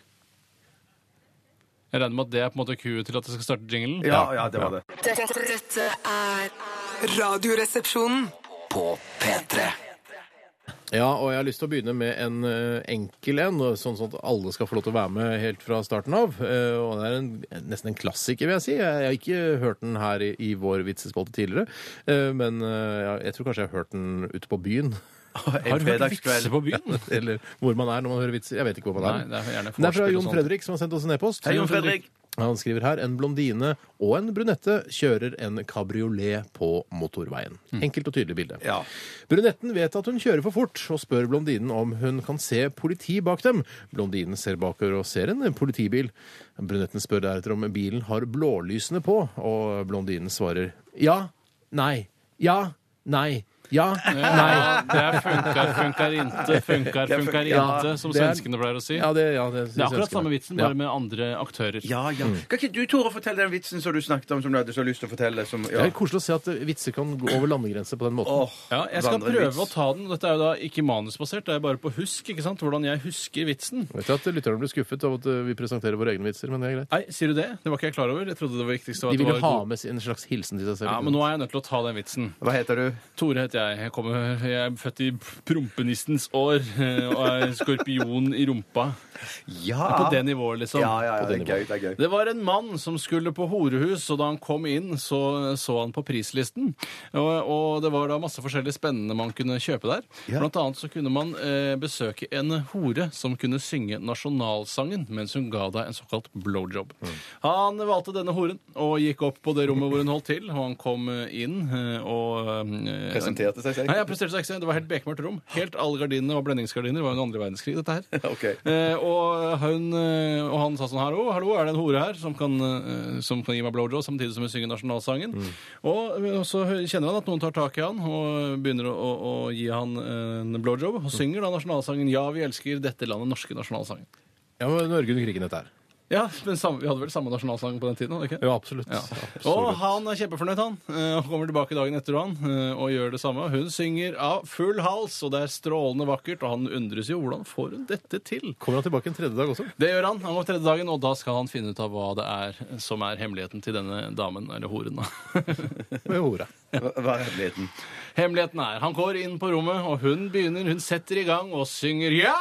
Jeg regner med at det er på en måte kuet til at jeg skal starte jinglen.
Ja, ja, det var det.
Dette, dette er
Radioresepsjonen.
På P3
Ja, og jeg har lyst til å begynne med en eh, enkel en, og sånn sånn at alle skal få lov til å være med helt fra starten av. Eh, Og det er en, nesten en klassiker, vil jeg si. Jeg, jeg har ikke hørt den her i, i vår vitsespalte tidligere, eh, men eh, jeg, jeg tror kanskje jeg har hørt den ute på byen.
En
Har du hørt vitser
fredagskveld.
på [laughs] byen?
[laughs] Eller hvor man er når man hører vitser. Jeg vet ikke hvor man
Nei,
er.
det er
Det er
gjerne
fra
forspill og
Jon
sånt.
Fredrik, som har sendt oss en e-post.
Hei, Jon Fredrik.
Han skriver her en blondine og en brunette kjører en kabriolet på motorveien.
Mm.
Enkelt og tydelig bilde.
Ja.
Brunetten vet at hun kjører for fort, og spør blondinen om hun kan se politi bak dem. Blondinen ser bakover og ser en politibil. Brunetten spør deretter om bilen har blålysene på, og blondinen svarer ja, nei, ja, nei, ja, nei.
Ja, det er funkar, funkar inte, funkar,
Ja,
funkar
ja,
inte, som
det er-
svenskene pleier å si.
Ja, det, ja, det,
Det er
synes
akkurat
jeg
samme
ønsker meg.
vitsen, bare med andre aktører.
Ja, ja.
Mm.
Kan ikke du, Tore, fortelle den vitsen som du snakket om, som du hadde så lyst til å fortelle? Som,
Det
ja.
er koselig å se at vitser kan gå over landegrenser på den måten.
Åh,
Ja, jeg skal prøve
vandrevits.
å ta den. Dette er jo da ikke manusbasert, det er bare på husk. ikke sant? Hvordan jeg husker vitsen.
Vet jeg at lytterne blir skuffet av at eh, vi presenterer våre egne vitser, men det er greit.
Nei, sier du det? Det var ikke jeg klar over. Jeg trodde det var viktigste
De
var at det
vil jo
var
ha
god-
med en slags hilsen til seg selv.
Ja, Men nå er jeg nødt til å ta den vitsen.
Hva heter du?
Tore heter jeg. Jeg, kommer, jeg er født i prompenistens år eh, og er skorpion i rumpa.
Ja!
På det nivået, liksom.
Ja, ja, ja,
På
det
det
er gøy. Det er
[laughs]
gøy.
Det var en mann som skulle på horehus, og da han kom inn, så så han på prislisten. Og, og det var da masse forskjellige spennende man kunne kjøpe der.
Ja.
Blant annet så kunne man eh, besøke en hore som kunne synge nasjonalsangen mens hun ga deg en såkalt blowjob. Han valgte denne horen og gikk opp på det rommet hvor hun holdt til, og han kom eh, inn eh, og eh,
Presenterte presterte seg selv?
Nei, jeg presterte seg ikke. Det var helt bekmørkt rom. Helt alle gardinene var blendingsgardiner. Det var under andre verdenskrig, dette her.
Ok.
Eh, og, hun, eh, og han sa sånn her Å, hallo, er det en hore her som kan, eh, som kan gi meg blowjob samtidig som hun synger nasjonalsangen? Og, eh, så hø- kjenner han at noen tar tak i han og begynner å, å, å gi han eh, en blowjob. Og synger da nasjonalsangen 'Ja, vi elsker dette landet', norske nasjonalsangen.
Ja, men Norge under krigen, dette her.
Ja, men samme, Vi hadde vel samme nasjonalsang på den tiden? hadde vi ikke?
Jo, absolutt.
Ja. Og
absolutt.
han er kjempefornøyd, han. eh, Og kommer tilbake dagen etter han eh, og gjør det samme. Hun synger av full hals, og det er strålende vakkert. Og han undres jo hvordan får hun dette til?
Kommer han tilbake en tredje dag også?
Det gjør han. Han går tredje dagen, og da skal han finne ut av hva det er som er hemmeligheten til denne damen, eller horen, da. [laughs]
Med hora.
Hva hva er hemmeligheten?
Hemmeligheten er Han går inn på rommet, og hun begynner, hun setter i gang og synger Ja,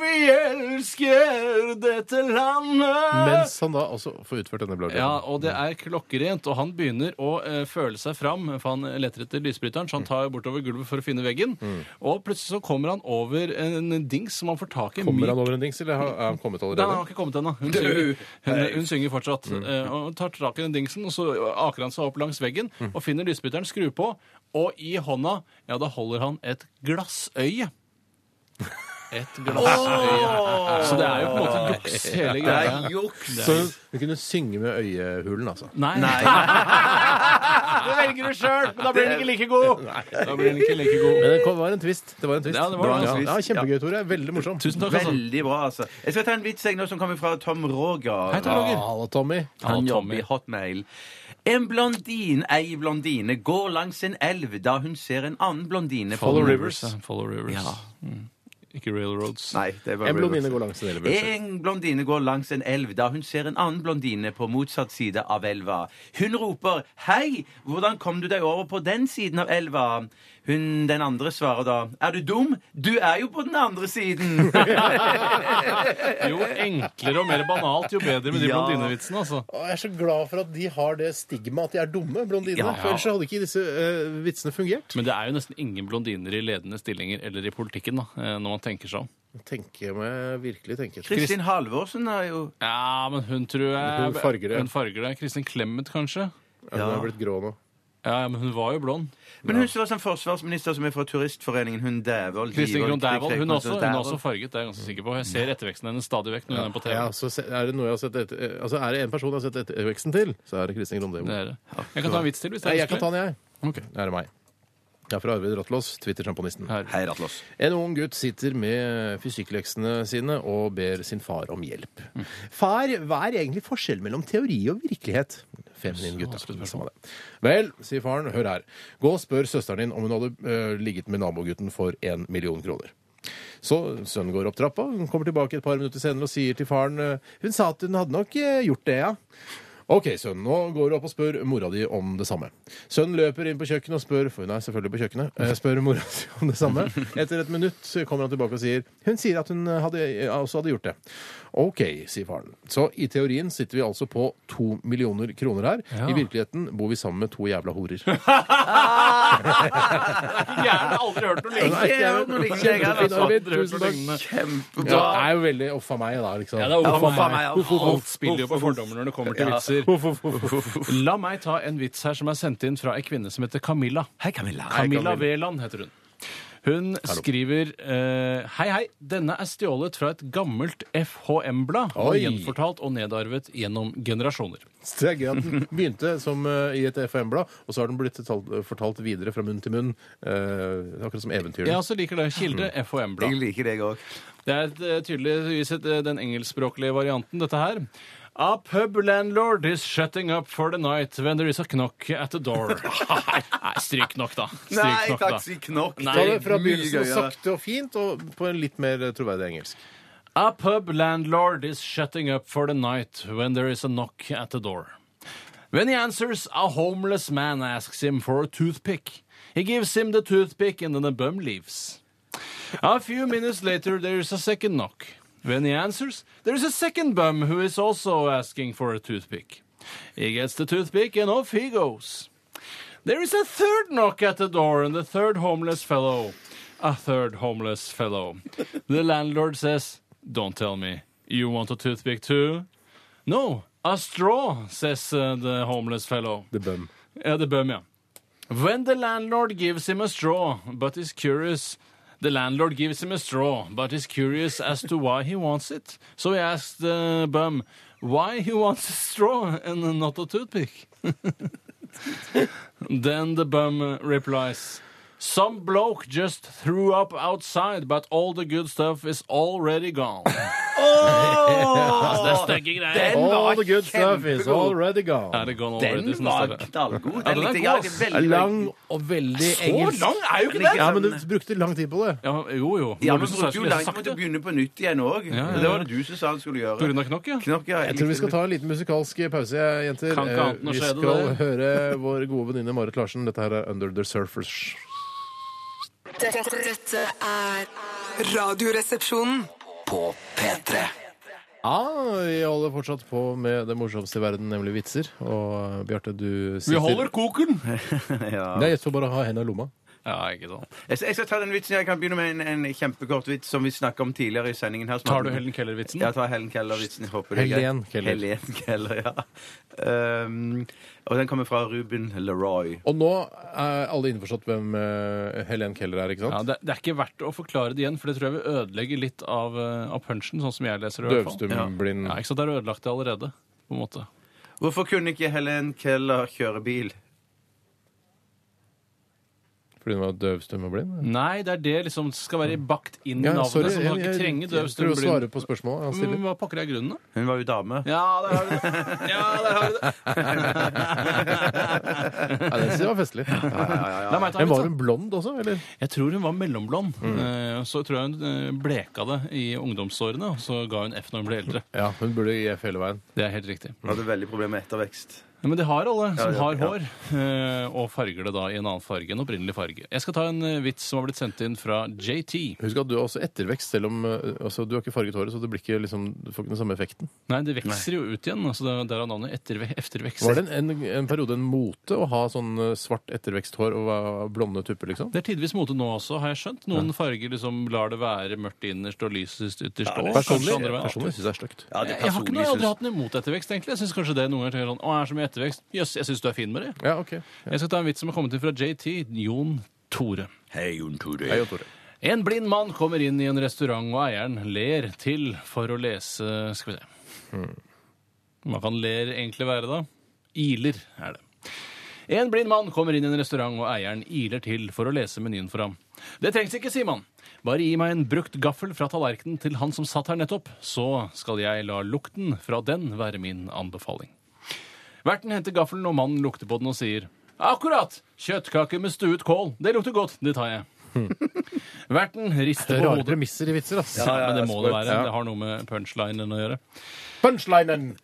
vi elsker dette landet!
Mens han da også får utført denne blowjoben.
Ja, og det er klokkerent, og han begynner å eh, føle seg fram, for han leter etter lysbryteren, så han tar bortover gulvet for å finne veggen, og plutselig så kommer han over en dings som han får tak i.
Kommer
midt-
han over en dings, eller har er han kommet
Nei, han
allerede?
har ikke kommet ennå. Hun, synger- hun, hun synger fortsatt. eh, Og tar tak i den dingsen, og så aker han seg opp langs veggen og finner lysbryteren, skrur på, og i hånda, ja, da holder han et glassøye. Et glassøye. Så det er jo på en måte juks, hele
Det
greia. [laughs]
er juks!
Så hun kunne synge med øyehulen, altså.
Nei. det velger du sjøl, men da blir den ikke like god. Da blir den ikke like god.
Men det kom- var en twist. Det var en twist.
Ja, det var en
ja.
twist.
Ja, kjempegøy, Tore. Veldig morsomt.
Tusen takk, altså.
Veldig bra, altså. Jeg skal ta en vits jeg, nå som kommer fra Tom Roger.
Hei, Tom Roger.
Hallo, Tommy.
Han
Ja, Tommy.
jobber i Hotmail. En blondin, ei blondine, går langs en elv da hun ser en annen blondine.
Follow rivers.
ja. Follow rivers.
Ja.
Mm. Ikke railroads.
Nei, det var
En blondine går langs en elv.
Eh.
En blondine går langs en elv da hun ser en annen blondine på motsatt side av elva. Hun roper 'Hei, hvordan kom du deg over på den siden av elva?' Hun den andre svarer da 'Er du dum? Du er jo på den andre
[laughs]
siden'.
Jo enklere og mer banalt, jo bedre med de
Ja.
blondinevitsene, altså.
Å, Jeg er så glad for at de har det stigmaet at de er dumme, blondinene.
Ja.
For ellers så hadde ikke disse eh, vitsene fungert.
Men det er jo nesten ingen blondiner i ledende stillinger eller i politikken, da, eh, når man tenker seg om.
Tenker meg virkelig tenker.
Kristin Halvorsen er jo
Ja, men hun tror jeg
Hun farger det.
Hun farger det. Kristin Clemet, kanskje?
Ja, Hun er blitt grå nå.
Ja, ja, men hun var jo blond.
Men hun som var sånn forsvarsminister som er fra Turistforeningen, hun Dævold
Kristin Krohn
Livold,
Dævold. Hun, er også- hun er
Dævold. [laughs]
også farget, det er jeg ganske sikker på. Jeg ser etterveksten hennes stadig vekk når hun er på TV.
Ja, altså. så se- er det noe jeg har sett etter, eh, altså er det en person jeg har sett etterveksten til, så er det Kristin Grande.
Det
Nei,
er det. Jeg kan ta en vits til. hvis det er
jeg kan ta den, jeg.
Ok.
Det er meg. Det er fra Arvid Rattlås, Twitter-sjamponisten.
Her.
Hei, Rattlås.
En ung gutt sitter med fysikkleksene sine og ber sin far om hjelp. Far, hva er egentlig forskjellen mellom teori og virkelighet? Feminin gutt. da. Samme det. Vel, sier faren, hør her. Gå og spør søsteren din om hun hadde eh, ligget med nabogutten for en million kroner. Så sønnen går opp trappa, hun kommer tilbake et par minutter senere og sier til faren eh, Hun sa at hun hadde nok eh, gjort det, ja. Ok, sønn, nå går du opp og spør mora di om det samme. Sønnen løper inn på kjøkkenet og spør for hun er selvfølgelig på kjøkkenet, eh, spør mora si om det samme. Etter et minutt så kommer han tilbake og sier hun sier at hun hadde, også hadde gjort det. Ok, sier faren. Så i teorien sitter vi altså på to millioner kroner her. I virkeligheten bor vi sammen med to jævla horer.
Gjerne aldri hørt noe lignende.
Ikke jeg har noe lignende, jeg
[laughs]
har
Kjempefin,
altså.
Arvid. Tusen takk. Ja, det er jo veldig off av meg, da. liksom.
Ja, det er
Ja,
opp for
for
meg.
meg, ja.
Uff, uff, uff. Alt spiller jo på fordommer når det kommer til vitser. La meg ta en vits her som er sendt inn fra ei kvinne som heter Camilla.
Hei, Camilla.
Camilla Veland heter hun. Hun skriver eh, Hei, hei. Denne er stjålet fra et gammelt FHM-blad og
Oi.
gjenfortalt og nedarvet gjennom generasjoner.
Det er gøy at den begynte som eh, i et FM-blad, og så har den blitt talt, fortalt videre fra munn til munn. eh, akkurat som eventyrene.
Jeg også liker det. Kilde FHM-blad.
Jeg liker deg òg.
Det er et, eh, tydeligvis et, eh, den engelskspråklige varianten, dette her. A pub landlord is shutting up for the night when there is a knock at the door. [laughs] Nei, stryk nok, da. Stryk
Nei
nok,
takk,
da.
si knokk.
Nei,
Ta det fra
mye
begynnelsen
gøyere.
sakte og fint, og på en litt mer eh, troverdig engelsk.
A pub landlord is shutting up for the night when there is a knock at the door. When he answers, a homeless man asks him for a toothpick. He gives him the toothpick and then the bum leaves. A few minutes later, there is a second knock. When he answers, there is a second bum who is also asking for a toothpick. He gets the toothpick and off he goes. There is a third knock at the door, and the third homeless fellow. A third homeless fellow. The landlord says, Don't tell me. You want a toothpick too? No, a straw, says uh, the homeless fellow.
The Bum.
Ja, det bør vi, ja. When the landlord gives him a straw, but is curious The landlord gives him a straw, but is curious as to why he wants it. So he asks the bum why he wants a straw and not a toothpick. [laughs] then the bum uh, replies, Some bloke just threw up outside, but all the good stuff is already gone. altså, det er stygge greier.
Den var
All the good stuff is
kjempegod.
already gone.
Er det gone already?
Den
som
var
det står?
knallgod.
Ja, den er
likte jeg.
god,
Ja, det
ass.
er veldig,
Lang og veldig engelsk.
veldig- Lang er jo ikke det!
Ja, men du brukte lang tid på det.
Ja, men- jo, jo.
Ja,
Når
men
du
du
sa jeg
brukte jo
skulle lese
lang tid på å
sakte.
begynne på nytt igjen òg.
Ja, ja,
Det
ja.
var det du som sa du skulle gjøre.
På grunn av knokk, ja.
Knokk, ja.
Jeg tror vi skal
[laughs]
ta en liten musikalsk pause, jeg, jenter.
Kan ikke
Eh,
annet enn å
Vi
skje det
skal
der.
høre vår gode venninne Marit Larsen. Dette her er Under the Surfers.
Dette, dette er
Radioresepsjonen.
På P3
Ja, Ah, vi holder fortsatt på med det morsomste i verden, nemlig vitser. Og eh, Bjarte, du sitter
koken!
Nei, jeg skal bare ha hendene i lomma.
[laughs] Ja, ikke sant.
Jeg skal, jeg skal ta den vitsen. Jeg kan begynne med en, en kjempekort vits som vi snakka om tidligere i sendingen. her. som
Tar
hadde-
du Helen Keller-vitsen?
Ja, ta Helen Keller-vitsen. jeg håper det er greit.
Helen Keller.
Helen Keller, ja. Um, og den kommer fra Ruben Leroy.
Og nå er alle innforstått hvem eh, Helen Keller er, ikke
Ja,
sant?
det, det er ikke verdt å forklare det igjen, for det tror jeg vil ødelegge litt av, eh, av punchen, sånn som jeg leser det. i hvert fall.
Døvstum, blind
Ja, ikke sant, Det er ødelagt det allerede, på en måte.
Hvorfor kunne ikke Helen Keller kjøre bil?
fordi hun var døvstum og blind?
Nei, det er det liksom skal være bakt inn i
Ja,
navnet.
sorry,
så man kan
jeg-
ikke
jeg-
trenge
jeg prøver
døvstum
å
blind. Mm.
svare på spørsmålet han
Men
stiller.
Hva pokker er grunnen, da?
Hun var jo dame.
Ja, der har du det! [laughs] Ja, der har du det.
Ja, det synes jeg var festlig.
La meg ta sånn.
Men var Mm.
en vits, da.
hun blond også, eller?
Jeg tror hun var mellomblond. Eh, Så tror jeg hun eh, bleka det i ungdomsårene, og så ga hun F når hun ble eldre.
Ja, hun burde gi F hele veien.
Det er helt riktig.
Hun hadde veldig problemer med ettervekst.
Ja, men det har alle som
ja,
har
ja.
hår, eh, og farger det da i en annen farge enn opprinnelig farge. Jeg skal ta en eh, vits som har blitt sendt inn fra JT.
Husk at du har også ettervekst, selv om eh, altså, du har ikke farget håret, så det blir ikke, liksom, du får ikke den samme effekten.
Nei, det vokser jo ut igjen. altså det er- Der er navnet etterve eftervekst.
Var det en, en, en periode en mote å ha sånn eh, svart etterveksthår og være blonde tupper, liksom?
Det er tidvis mote nå også, har jeg skjønt. Noen farger liksom lar det være mørkt innerst og lysest ytterst. og kanskje
Personlig,
andre veien.
personlig syns jeg er stygt.
Ja, det
Jeg har ikke noe, jeg har aldri
synes-
hatt noe imot ettervekst, egentlig. Jeg syns kanskje det noen ganger tenker sånn, å, jeg er så mye ettervekst. Jøss, jeg syns du er fin med det.
Ja, OK.
Jeg skal ta en vits som har kommet inn fra JT. Jon Tore.
Hei, Jon Tore.
Hei, Jon Tore.
En blind mann kommer inn i en restaurant, og eieren ler til for å lese Skal vi se. Hva kan ler egentlig være, da? Iler er det. En blind mann kommer inn i en restaurant, og eieren iler til for å lese menyen for ham. Det trengs ikke, sier man. Bare gi meg en brukt gaffel fra tallerkenen til han som satt her nettopp, så skal jeg la lukten fra den være min anbefaling. Verten henter gaffelen, og mannen lukter på den og sier Akkurat! Kjøttkaker med stuet kål. Det lukter godt. Det tar jeg. Verten rister på
Rare
hodet.
premisser i vitser, ass.
Ja, men det må det
sprøtt.
være.
Ja.
Det har noe med punchlinen å gjøre.
Punchlinen!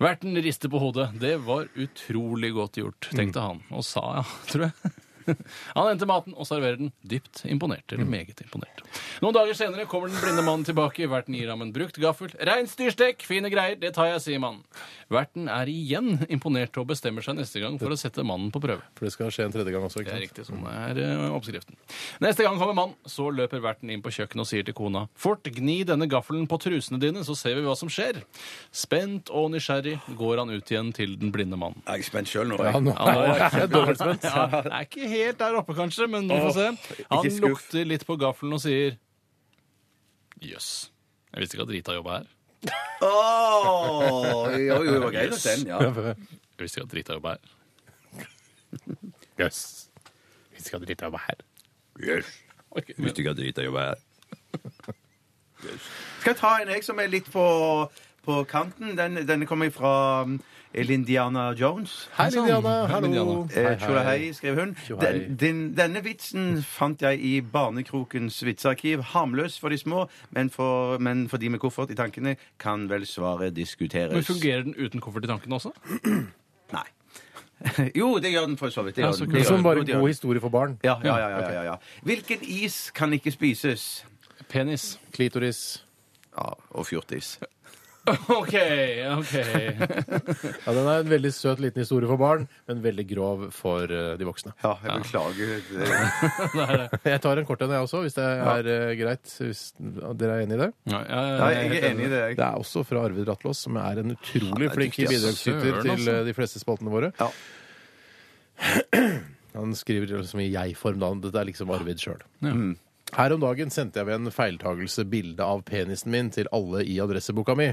Verten rister på hodet. Det var utrolig godt gjort, tenkte han. Og sa ja, [laughs] tror jeg. Han henter maten og serverer den. Dypt imponert. Eller meget imponert. Noen dager senere kommer den blinde mannen tilbake. Verten gir ham en brukt gaffel. Reinsdyrstek! Fine greier! Det tar jeg, sier mannen. Verten er igjen imponert og bestemmer seg neste gang for å sette mannen på prøve.
For det skal skje en tredje gang også.
Det
ikke
er
sant?
riktig. Sånn er eh, oppskriften. Neste gang kommer mannen. Så løper verten inn på kjøkkenet og sier til kona Fort, gni denne gaffelen på trusene dine, så ser vi hva som skjer. Spent og nysgjerrig går han ut igjen til den blinde mannen.
Jeg er spent sjøl nå.
Ja,
jeg.
nå er jeg [laughs] dobbelt spent.
Ja, det er ikke helt der oppe, kanskje, men vi får se. Han
ikke skuff.
lukter litt på gaffelen og sier Jøss. Jeg visste ikke at Rita jobba her.
Åh, jo, jo, det var greit at [laughs] den, ja.
Jeg visste ikke at Rita
[laughs]
jobba her.
Yes. Vi skal drite av her.
Ok, men-
Skal jeg ta en jeg som er litt på, på kanten? Den, den kommer fra um, Lindiana Jones.
Hei, Liliana.
Hei,
Hallo.
Liliana.
Eh, Tjola hei, skrev hun.
Tjola hei.
Den, den, denne vitsen fant jeg i Barnekrokens vitsearkiv. Harmløs for de små, men for, men for de med koffert i tankene kan vel svaret
Men
diskuteres.
Fungerer den uten koffert i tankene også?
Nei. [laughs] Jo, det gjør den for så vidt. Det
Ja,
gjør
så
den.
kult.
Det gjør
Som
den.
bare
Jo,
en
det gjør
god
den.
historie for barn.
Ja, ja, ja, ja, ja, ja. Hvilken is kan ikke spises?
Penis.
Klitoris.
Ja, og fjortis.
[laughs] OK,
[laughs]
OK.
Ja, Den er en veldig søt liten historie for barn, men veldig grov for eh, de voksne.
Ja, jeg beklager.
Jeg tar en kort en, jeg også, hvis det er eh, greit. Hvis dere er enig i det?
Ja, ja, ja,
Nei, jeg er enig i det.
Det er også fra Arve Dratlås, som er en utrolig
er
flink
dyktig, ass.
bidragsyter
Søren,
til
altså.
eh, de fleste spaltene våre.
Ja.
[clears throat] Han skriver liksom i jeg-form, da. Dette er liksom Arvid sjøl.
Mm.
Her om dagen sendte jeg ved en feiltagelse bilde av penisen min til alle i adresseboka mi.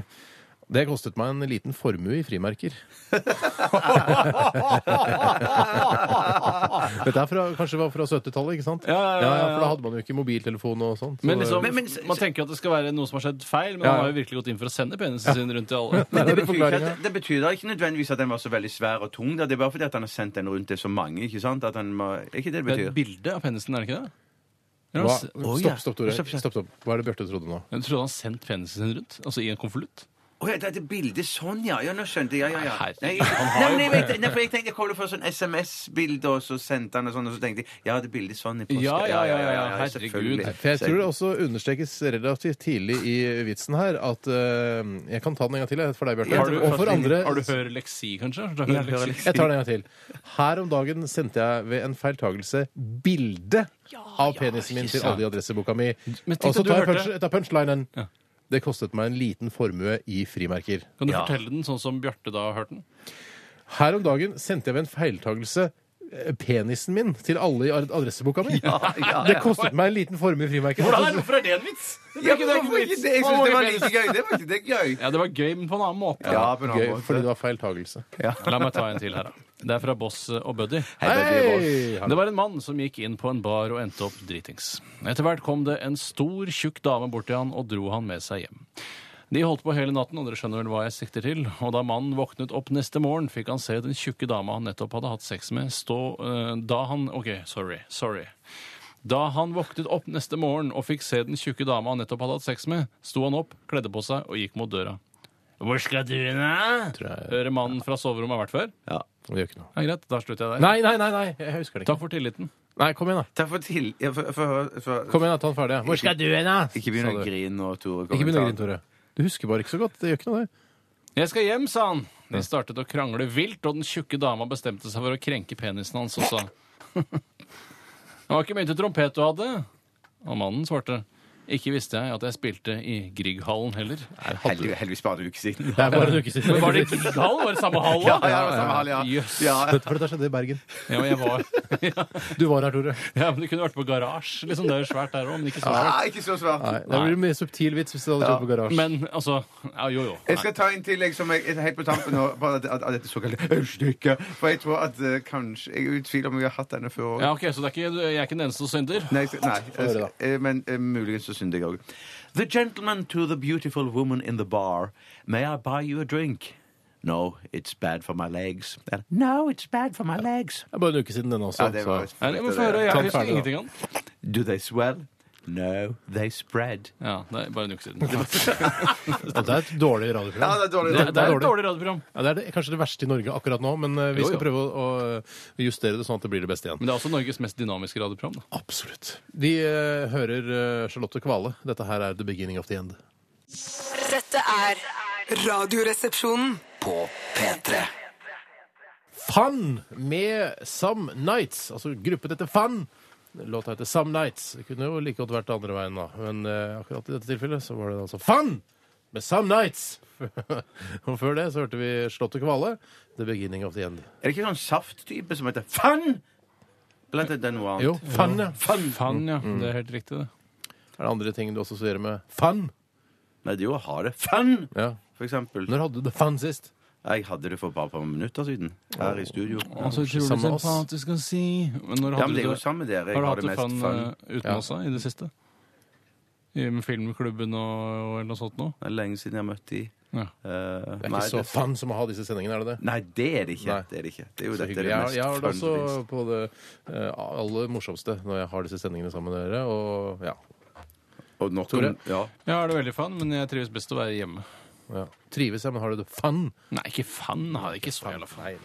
Det kostet meg en liten formue i
[laughs]
frimerker. Dette er fra, kanskje var fra 70-tallet, ikke sant?
Ja, ja, ja, ja, ja.
For da hadde man jo ikke mobiltelefon og sånt.
Men liksom,
Men- men-
Man tenker jo at det skal være noe som har skjedd feil, men
Ja,
han
ja.
har jo virkelig gått inn for å sende penisen sin rundt til alle.
det,
Det
er
betyr, ikke
forklaringen.
at, det betyr da ikke nødvendigvis at den var så veldig svær og tung. Da. Det er bare fordi at han har sendt den rundt til så mange. ikke sant? At han må, er ikke det det
Det er et
betyr?
bilde av penisen, er det ikke det?
Hva?
Eller han s-
Å, ja.
Stopp, stopp, Tore.
Stopp, stopp.
Stopp, stopp. Hva er det Bjarte trodde nå?
Jeg trodde han sendte penisen sin rundt, altså i en konvolutt.
Å ja, det er et bilde sånn, ja. Ja, nå skjønte jeg. Ja, ja, ja.
Nei, herregud.
Nei,
Han
nei,
har jo-
men jeg vet, nei, for jeg tenkte jeg kom fra sånn SMS-bilde, og så sendte han og sånn, og så tenkte jeg ja, det bildet sånn i påske.
Ja, ja, ja, ja, herregud.
selvfølgelig.
Nei,
For jeg tror det også understrekes relativt tidlig i vitsen her at eh, Jeg kan ta den en gang til, jeg, for deg,
Har du-
Bjarte. Og for andre
Har du høyreleksi, kanskje? Har du
Ja,
høyreleksi?
høyreleksi.
Jeg tar den en gang til. Her om dagen sendte jeg ved en feiltagelse bilde av penisen min til alle i adresseboka mi.
Men tenk
Og så
at du
tar jeg
hørte-
punch- jeg tar punchlinen.
Ja.
Det kostet meg en liten formue i frimerker.
Kan du
Ja.
fortelle den sånn som Bjarte da har hørt den?
Her om dagen sendte jeg ved en feiltagelse eh, penisen min til alle i ad- adresseboka mi.
ja,
Det kostet meg en liten formue i frimerker.
Hvorfor er det en vits?
Ja, men hvorfor ikke det? Jeg syns det var like gøy. Det var ikke det gøy.
Ja, det var gøy, men på en annen måte.
Ja, på en annen
Gøy,
måte.
fordi det var feiltagelse.
La meg ta en til her, da. Det er fra Boss og Buddy.
Hei!
Det var en mann som gikk inn på en bar og endte opp dritings. Etter hvert kom det en stor, tjukk dame bort til han og dro han med seg hjem. De holdt på hele natten, og dere skjønner vel hva jeg sikter til. Og da mannen våknet opp neste morgen, fikk han se den tjukke dama han nettopp hadde hatt sex med, stå eh, Da han OK, sorry. Sorry. Da han våknet opp neste morgen og fikk se den tjukke dama han nettopp hadde hatt sex med, sto han opp, kledde på seg og gikk mot døra. Hvor skal du hen? da?» Hører mannen fra soverommet har vært før?
Det gjør ikke noe.
Ja, greit, da slutter jeg der.
Nei, nei, nei, nei, jeg husker det ikke.
Takk for tilliten.
Nei, kom igjen, da.
Takk for til... ja, for, for, for,
Kom igjen, da, ta den ferdig. Hvor skal du hen, da?
Ikke begynn
Sa
å
du.
grine nå, Tore.
Ikke begynn å grine, Tore. Du husker bare ikke så godt. Det gjør ikke noe, det.
Jeg skal hjem, sa han. De startet å krangle vilt, og den tjukke dama bestemte seg for å krenke penisen hans og sa [laughs] Det var ikke mye til trompet du hadde. Og mannen svarte Ikke visste jeg at jeg spilte i Grieghallen heller.
Heldigvis heldigvis bare en uke siden.
Det er bare en uke siden.
Men var det Grieghallen? Var det samme hall?
Ja,
da?
ja, det var samme hall, ja.
Jøss.
Ja,
Dette, for dette skjedde i Bergen.
Ja, men jeg var [laughs]
Du var her, Tore.
Ja, men det kunne vært på garasje. Liksom, det er jo svært der òg, men ikke så
Nei,
svært.
ikke så svært.
Nei, Det blir mye subtil vits hvis du hadde kjørt på garasje.
Men altså ja, Jo, jo.
Jeg skal ta en til jeg, som jeg, er helt på tampen nå, bare at- at- at dette såkalte ølstykket. For jeg tror at eh, kanskje Jeg er i tvil om jeg har hatt denne før òg.
Ja, ok, Så det er ikke, jeg er ikke den eneste som synder?
Nei, jeg skal- nei jeg
høre,
skal, eh, men eh, muligens så synder jeg òg. The gentleman to the beautiful woman in the bar. May I buy you a drink? No, it's bad for my legs. And, No, it's bad for my legs.
Det er bare en uke siden denne også.
Ja, det var-
så.
Nei, men få høre, jeg
Sånn
husker
ferdig, da.
ingenting om den.
Do they swell? No, they spread.
Ja, det er bare en uke siden. Det
Ja, Det er et dårlig radioprogram.
Ja, det er dårlig.
er, det er et dårlig radioprogram.
Ja, det er det, kanskje det verste i Norge akkurat nå, men eh, vi
Jo,
skal
jo.
prøve å, å justere det sånn at det blir det beste igjen.
Men det er også Norges mest dynamiske radioprogram. Da.
Absolutt. Vi eh, hører eh, Charlotte Kvale. Dette her er The Beginning of the End.
Dette er Radioresepsjonen.
På P3.
Fun med Some Nights. Altså gruppen heter Fun. Låta heter Some Nights. Det kunne jo like godt vært andre veien, da. Men eh, akkurat i dette tilfellet så var det altså Fun med Some Nights. [laughs] Og før det så hørte vi Slottet Kvale, The Beginning of the End.
Er det ikke sånn safttype som heter Fun? Eller heter det noe annet?
Jo, Fun, ja.
Fun.
Fan, ja. Det er helt riktig, det.
Er det andre ting du også assosierer med Fun?
Nei, det er jo å ha det fun,
Ja.
for eksempel.
Når hadde du det fun sist?
Jeg hadde det for bare et par minutter siden her i studio.
Altså, utrolig
Sammen med oss.
sympatisk å si. Men når
Ja, men
hadde
det er
du
jo
det?
sammen med dere. Jeg
Har du
har
hatt
det
det
mest
fan
fun.
eh, uten
Ja.
også i det siste? I med filmklubben og, og eller noe sånt noe?
Det er lenge siden jeg har møtt de.
Ja.
Eh,
Det er
nei,
ikke så fun som å ha disse sendingene, er det det?
Nei, det er det ikke.
Nei.
Det er det ikke. Det er jo
Så
dette er
hyggelig.
det
Jeg, har-
mest
jeg har det
fun som
også
finnes.
på det eh, aller morsomste når jeg har disse sendingene sammen med dere. Og ja.
Og nok
Tore?
om ja.
Jeg har det veldig fan, men jeg trives best å være hjemme.
ja. Trives jeg, men har du det fun?
Nei, ikke fan. Nei, ikke så jævla fan.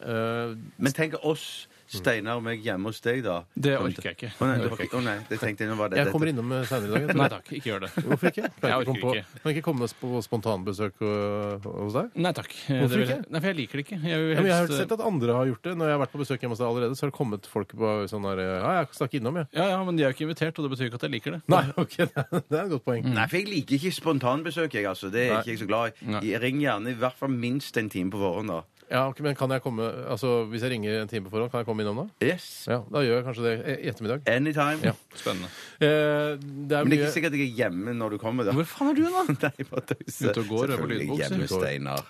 Eh,
Men tenk oss Steinar meg hjemme hos deg, da.
Mm. Det orker jeg ikke.
Å nei,
Det
du-
orker jeg ikke.
å nei, det tenkte jeg nå var det.
Jeg kommer innom seinere i dag.
Nei takk, ikke gjør det.
Hvorfor ikke? Kan
Jeg
jeg ikke komme på,
orker ikke.
kan jeg ikke komme på spontanbesøk øh, hos deg?
Nei takk.
Hvorfor
Det vil-
ikke?
Nei, for jeg liker det ikke. Jeg vil
Ja, men jeg har
helst,
sett at andre har gjort det. Når jeg har vært på besøk hjemme hos deg allerede, så har det kommet folk på sånn der Ja, jeg stakk innom, jeg.
eh, ja, ja, men de er jo ikke invitert, og det betyr ikke at jeg liker det.
Nei, [laughs] Mm. OK, det er et godt poeng.
Nei, for jeg liker ikke spontanbesøk, jeg, altså. Det er ikke jeg så glad i.
Nei.
Jeg ringer gjerne i hvert fall minst en time på forhånd, da.
Ja, ok, men kan jeg komme Altså, Hvis jeg ringer en time på forhånd, kan jeg komme innom da?
Yes.
Ja, Da gjør jeg kanskje det e- i ettermiddag.
Anytime.
Ja.
Spennende.
Eh, det er
Men det er ikke
mye
sikkert jeg er hjemme når du kommer, da.
Hvor faen er du da?
[laughs] Nei, jeg bare tøyser.
Ute og går, er på
Selvfølgelig
lydbok,
hjemme,
sier du.
Steinar.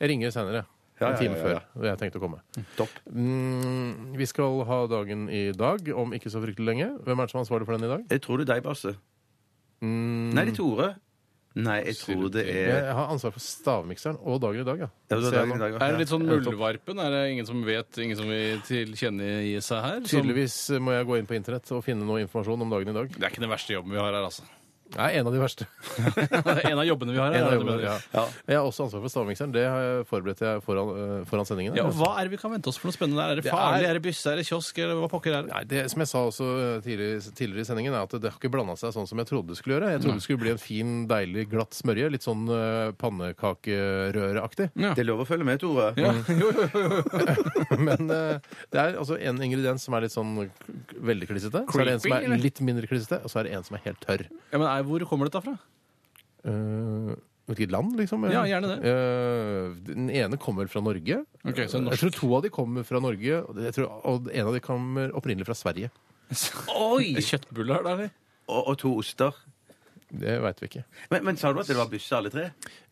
Jeg ringer seinere.
Ja,
En
ja,
time
ja, ja.
før. Og jeg tenkte å komme.
Topp.
Mm, vi skal ha dagen i dag, om ikke så fryktelig lenge. Hvem er det som er ansvarlig for den i dag?
Jeg tror det er deg, Basse.
Mm.
Nei, det er Tore. Nei, jeg tror det er
Jeg har ansvar for stavmikseren og dagen i dag, ja.
Eh. Ja, det var
Ser jeg
dagen i
nå.
dag, ja.
Er det litt sånn
Ja, topp.
muldvarpen? Er det ingen som vet, ingen som vil tilkjennegi seg her? Som-
Tydeligvis må jeg gå inn på internett og finne noe informasjon om dagen i dag.
Det er ikke den verste jobben vi har her, altså.
Det er en av de
[laughs]
verste.
Det er [laughs] en av jobbene vi har her.
En av
er det du
jobbene,
mener.
ja. Jeg har også ansvar for stavmikseren. Det har jeg forberedt jeg foran, øh, foran sendingen.
Ja, og Hva er det vi kan vente oss for noe spennende? der? Er det
Det
farlig?
er-
Er det bysse? Er det kiosk? Eller hva pokker er det?
Nei, det, som jeg sa også eh, tidligere, tidligere i sendingen, er at det har ikke blanda seg sånn som jeg trodde det skulle gjøre. Jeg trodde det skulle bli en fin, deilig, glatt smørje. Litt sånn eh,
[laughs]
pannekakerøreaktig.
Det er lov å følge med, Tore.
Ja. Jo, jo, jo, jo.
Men eh, det er altså en ingrediens som er litt sånn k- veldig klissete. Så er det en som
Creepy, eller?
er litt mindre klissete, og så er det en som er helt tørr.
ja, men er, Hvor kommer dette fra?
Eh, Hvilket land, liksom?
Ja, gjerne det.
Eh, den ene kommer fra Norge.
Ok, så norsk.
Jeg tror to av de kommer fra Norge, og det- jeg tror, og en av de kommer opprinnelig fra Sverige.
[laughs] Oi! Kjøttbuller, da, eller?
Og, og to oster.
Det veit vi ikke.
Men, men sa du at det var bysse, alle tre?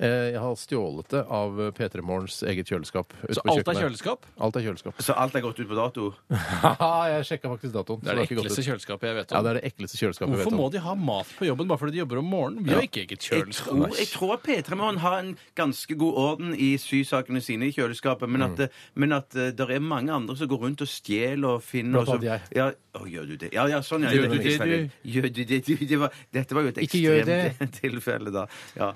Eh, Jeg har stjålet det av eh, P3 Morgens eget kjøleskap. ute
Så
på
alt er
kjøkkenet.
kjøleskap?
Alt er kjøleskap.
[laughs]
Så alt er gått ut på dato?
Haha, jeg sjekka faktisk datoen.
Det er
så
det
har ikke gått
ekleste
ut.
kjøleskapet jeg vet
Ja,
om.
det er det ekleste kjøleskapet jeg
Hvorfor
vet
må
om.
de ha mat på jobben bare fordi de jobber om morgenen? Vi har ikke eget
Jeg tror,
kjøleskap.
jeg tror P3 Morgen har en ganske god orden i sysakene sine i kjøleskapet, men
Mm.
at, det- men at eh, det er mange andre som går rundt og stjeler og finner
Blant
og så-
annet
Ja, å, gjør du det? Ja, ja, sånn, ja.
Gjør
ja,
du
det
det,
fikser jeg Gjør du det, du? det var, dette var jo et
Ikke gjør
ekstremt [laughs] tilfelle, da. Ja.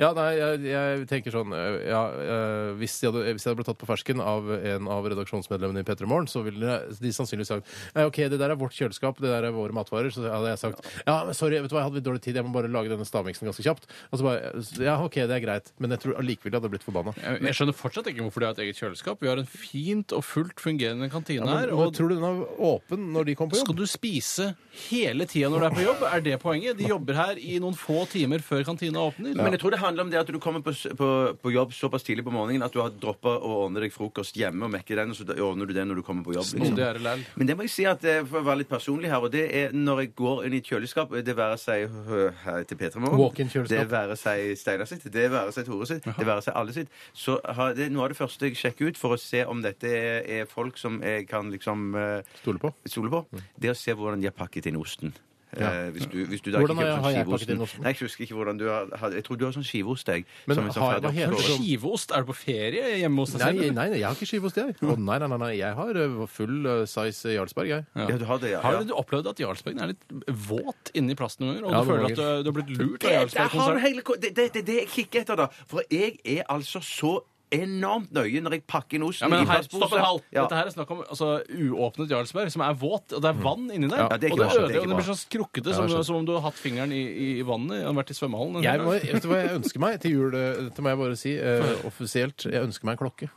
Ja, nei, jeg, jeg tenker sånn øh, ja, øh, hvis, jeg hadde, hvis jeg hadde blitt tatt på fersken av en av redaksjonsmedlemmene i P3 Morgen, så ville de- de sannsynligvis sagt Nei, OK, det der er vårt kjøleskap, det der er våre matvarer. Så hadde jeg sagt ja, men sorry, vet du hva, jeg hadde litt dårlig tid, jeg må bare lage denne stavmiksen ganske kjapt. Og så bare Ja, OK, det er greit, men jeg tror allikevel jeg hadde blitt forbanna.
Jeg jeg skjønner fortsatt ikke hvorfor de har et eget kjøleskap. Vi har en fint og fullt fungerende kantine her.
Men
og
tror du den er åpen når de kommer på jobb?
Skal du spise hele tida når du er på jobb? Er det poenget? De jobber her i noen få timer før kantina åpner.
Men jeg tror det handler om det at du kommer på, s- på, på jobb såpass tidlig på morgenen at du har droppa å ordne deg frokost hjemme og mekke den, og så da ordner du det når du kommer på jobb. liksom.
Snodig er det lell.
Men det må jeg si at eh, for å være litt personlig her, og det er når jeg går inn i et kjøleskap, eh, det være seg øh, her til Petra
Walk-in-kjøleskap.
det være seg Steinar sitt, det være seg Tore sitt, det være seg alle sitt, så har, det er noe av det første jeg sjekker ut for å se om dette er, er folk som jeg kan liksom eh,
Stole på?
stole på, det er å se hvordan de har pakket inn osten.
Mm. Ja.
Eh, hvis du, hvis du da
Hvordan
ikke kjøper
har jeg- har jeg
skiveosten-
pakket inn osten?
Nei, jeg husker ikke hvordan du har, har Jeg tror du har sånn skiveost, jeg.
Men
som en sånn
har jeg- hva
ferdig
heter
oppskåret.
det?
Skiveost? Er du på ferie hjemme hos deg
Nei,
selv?
nei, nei, jeg har ikke skive hos deg. Å, nei, nei, nei, nei, jeg har øh, full øh, size Jarlsberg, jeg.
Ja, du har det, ja.
Har
ja.
du opplevd at Jarlsbergen er litt våt inni plasten noen ganger? Og
Ja,
du
noen
føler at
ganger.
du, du har blitt lurt av
Det der har du
Jarlsberg-konserten?
hele ko- Det er det, det, det jeg kikker etter, da. For jeg er altså så enormt nøye når jeg pakker inn osten
Ja, men
i
her,
plastpose.
stopp en halv!
Ja.
Dette her er snakk om altså, uåpnet Jarlsberg som er våt, og det er vann inni der.
Ja, det er ikke
og det
bra, det er
ødelegger,
ikke
og det blir
bra.
sånn skrukkete,
Ja,
som,
jeg skjønner.
som om du har hatt fingeren i, i, i vannet. Har vært i svømmehallen.
Jeg må, vet du hva jeg ønsker meg til jul? eh, Dette må jeg bare si eh, offisielt. Jeg ønsker meg en klokke.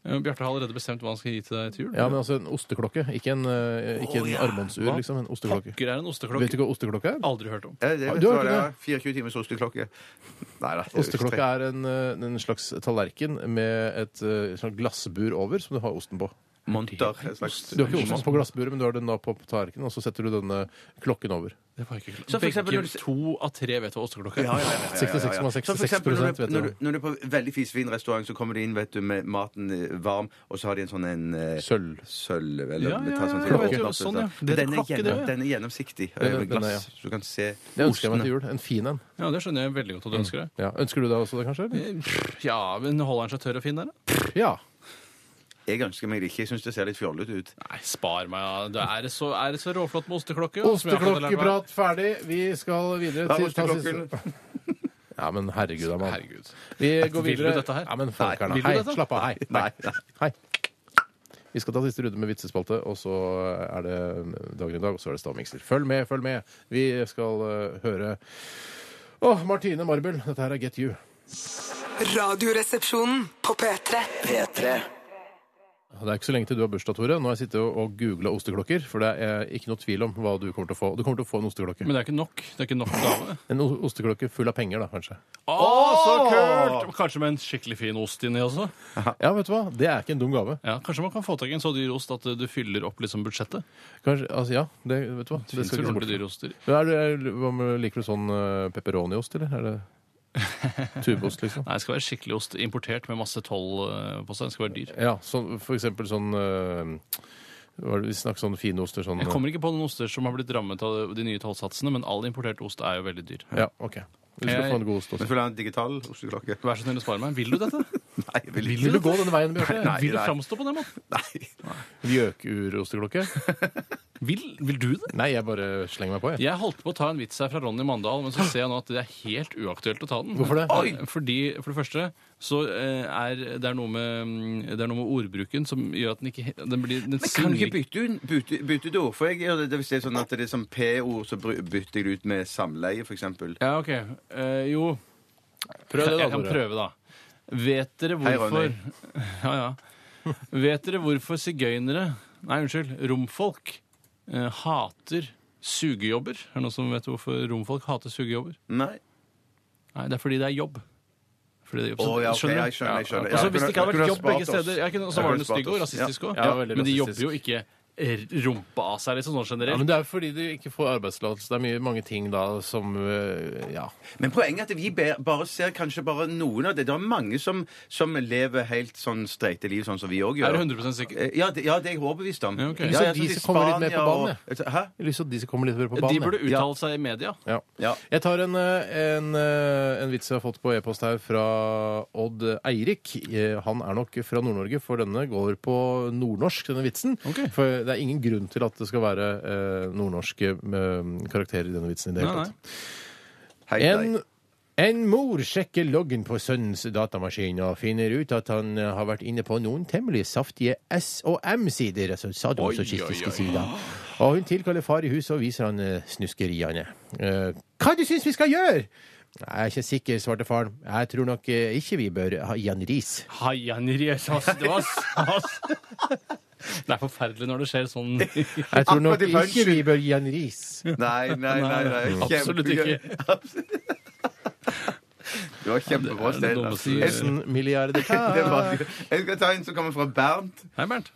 Eh, Bjarte har allerede bestemt hva han skal gi til deg til jul.
Ja, men altså en osteklokke. Ikke en, eh, ikke en armbåndsur,
Hva?
liksom. En osteklokke.
Pokker er en
Vet du
osteklokke.
ikke hva osteklokke er?
Aldri hørt om.
Ja, det, vet
Du
du
har
hva
ikke
det
det?
er? 24 timers osteklokke. Nei da.
Osteklokke er en, eh, en slags tallerken med et eh, sånn glassbur over som du har osten på.
Monter. en slags-
Du har ikke osten på glassburet, men du har den da på tallerkenen, og så setter du denne klokken over.
Det var ikke klart.
Så for eksempel når
Begge
du-
to av tre vet hva osteklokka er.
Ja, ja, ja, ja, ja, ja.
66,66%
Så for eksempel når du,
vet du.
når, du, når du er på veldig fisefin restaurant, så kommer de inn vet du, med maten eh, varm, og så har de en sånn en eh,
Sølv.
Sølv eller
Ja, ja,
metall,
ja,
sånn, som
jeg vet
åpner
jo,
opp,
sånn, ja.
sånn.
Det er
Den er,
klokke, det,
gjennom,
ja.
den er gjennomsiktig. eh,
Den-
Med
den er, ja.
glass, så du kan se
Det ønsker jeg meg
ostene.
til jul. En fin en.
Ja, det skjønner jeg veldig godt at du ønsker det.
Ja. Ønsker du deg også det, kanskje? eller?
Ja, men holder han seg tørr og fin der, da?
Ja.
Jeg ønsker meg det ikke. Jeg syns det ser litt fjollete ut.
Nei, spar meg, ja. Det er, det så, er det så råflott med osteklokke? ja, som jeg har fått lært meg?
Osteklokkeprat ferdig. Vi skal videre
Hva er
til ta
osteklokken?
siste- Ja, men herregud, Amal.
Herregud.
Vi går
Vil
videre.
du dette her?
Ja, men folkene,
Vil du
hei,
dette?
slapp av. Hei. Hei. Vi skal ta siste runde med vitsespalte, og så er det dagen i dag, og så er det stavmikser. Følg med, følg med. Vi skal eh, høre Å, Martine Marbel, dette her er Get You.
Radioresepsjonen på P3.
P3
Det er ikke så lenge til du har bursdag, Tore. Nå har jeg sittet og- og googla osteklokker, for det er ikke noe tvil om hva du kommer til å få. Du kommer til å få en osteklokke.
Men det er ikke nok. Det er ikke nok gave.
En o- osteklokke full av penger, da, kanskje.
Å, så kult! Kanskje med en skikkelig fin ost inni også.
Ja, vet du hva? Det er ikke en dum gave.
Ja, Kanskje man kan få tak i en så dyr ost at eh, du fyller opp liksom budsjettet.
Kanskje, altså, ja, det, vet du hva? Det
Det
skal ikke se bort
dyre
fra.
oster.
Men er du, er, hva med- liker du sånn eh, pepperoni-ost, eller? Er det
[laughs]
tubeost, liksom?
Nei, det skal være skikkelig ost importert med masse toll eh, på seg. Den skal være dyr.
Ja, sånn, for eksempel sånn eh, hva er det, Vi snakker sånn fine oster sånn
Jeg kommer ikke på noen oster som har blitt rammet av de nye tollsatsene, men all importert ost er jo veldig dyr.
eh, Ja, OK. Du skal
Jeg-
få en god ost
Men
også.
skulle ha en digital osteklokke. [laughs]
Vær så snill å svare meg. Vil du [laughs] dette?
Nei, jeg vil
Vil du gå denne veien, Bjarte?
Nei,
Vil du
nei.
framstå på den måten?
Nei.
Gjøkurosteklokke?
Vil, vil du det?
Nei, jeg bare slenger meg på, jeg.
Jeg holdt på å ta en vits her fra Ronny Mandal, men så ser jeg nå at det er helt uaktuelt å ta den.
Hvorfor det?
Oi! Fordi, For det første så eh, er det er noe med, mm, det er noe med ordbruken som gjør at den ikke he- den blir, den
Men kan du
synger-
ikke bytte, ut- bytte, bytte ut ord? For jeg gjør det, det hvis det er sånn at det er som P-ord, så bry- bytter jeg det ut med samleie, for eksempel.
Ja, OK. Eh, jo.
Prøv det, da,
Jeg kan
Tore.
prøve, da. Vet dere
Hei,
hvorfor [laughs]
Ronny.
Ja, ja. Vet dere hvorfor sigøynere Nei, unnskyld. Romfolk eh, hater sugejobber? Er det noen som vet hvorfor romfolk hater sugejobber?
Nei.
Nei, det er fordi det er jobb. Fordi det er jobb.
Å, ja, ok, jeg skjønner, jeg skjønner.
Ja, altså,
Ja,
hvis det ikke hadde
jeg
vært
kunne
jobb
spart
begge
oss.
steder jeg kunne,
Jeg
Så var
kunne
det noe stygg og
spart oss.
rasistisk òg.
Ja,
Ja,
veldig
men
rasistisk.
de jobber jo ikke r- rumpa av seg, liksom sånn
Ja,
generelt.
men Det er fordi de ikke får arbeidstillatelse. Det er mye, mange ting da som øh, Ja.
Men poenget er at vi be- bare ser kanskje bare noen av det. Det er mange som, som lever helt sånn streite liv, sånn som vi òg
Er
gjør.
du 100 sikker?
Eh, Ja, det, ja, det er jeg overbevist om.
Ja, ok.
Så
sånn
de
til
som kommer litt mer på
Spania
banen,
og- Hæ?
Jeg har lyst til at de skal komme litt mer på banen.
De burde
jeg.
uttale seg i media.
ja.
Ja.
Jeg tar en, eh, en, eh, en vits jeg har fått på e-post her fra Odd Eirik. Eh, Han er nok fra Nord-Norge, for denne går på nordnorsk, denne vitsen.
Ok.
For det er ingen grunn til at det skal være eh, nordnorske eh, karakterer i denne vitsen i det hele
Nei,
tatt.
Hei,
En,
nei.
en mor sjekker loggen på sønnens datamaskin og finner ut at han eh, har vært inne på noen temmelig saftige S- og M-sider, altså sadomasochistiske sider. Og hun tilkaller far i huset og viser han eh, snuskeriene. Eh, Hva du syns vi skal gjøre? Jeg er ikke sikker, svarte faren. Jeg tror nok eh, ikke vi bør ha- gi han ris.
Hei, Henri, ass, ass, det var ass. Det er forferdelig når det skjer sånn.
Jeg tror nok
Akkurat i
ikke
lunsj.
vi bør gi han ris.
Nei, nei, nei. nei.
Absolutt
Kjempegøy.
ikke.
Det var
Ja,
kjempebra,
det er det
Steinar.
dummeste du-
Jeg-
[laughs] Tusen milliarder
det var- Jeg skal ta en som kommer fra Bernt.
Hei, Bernt.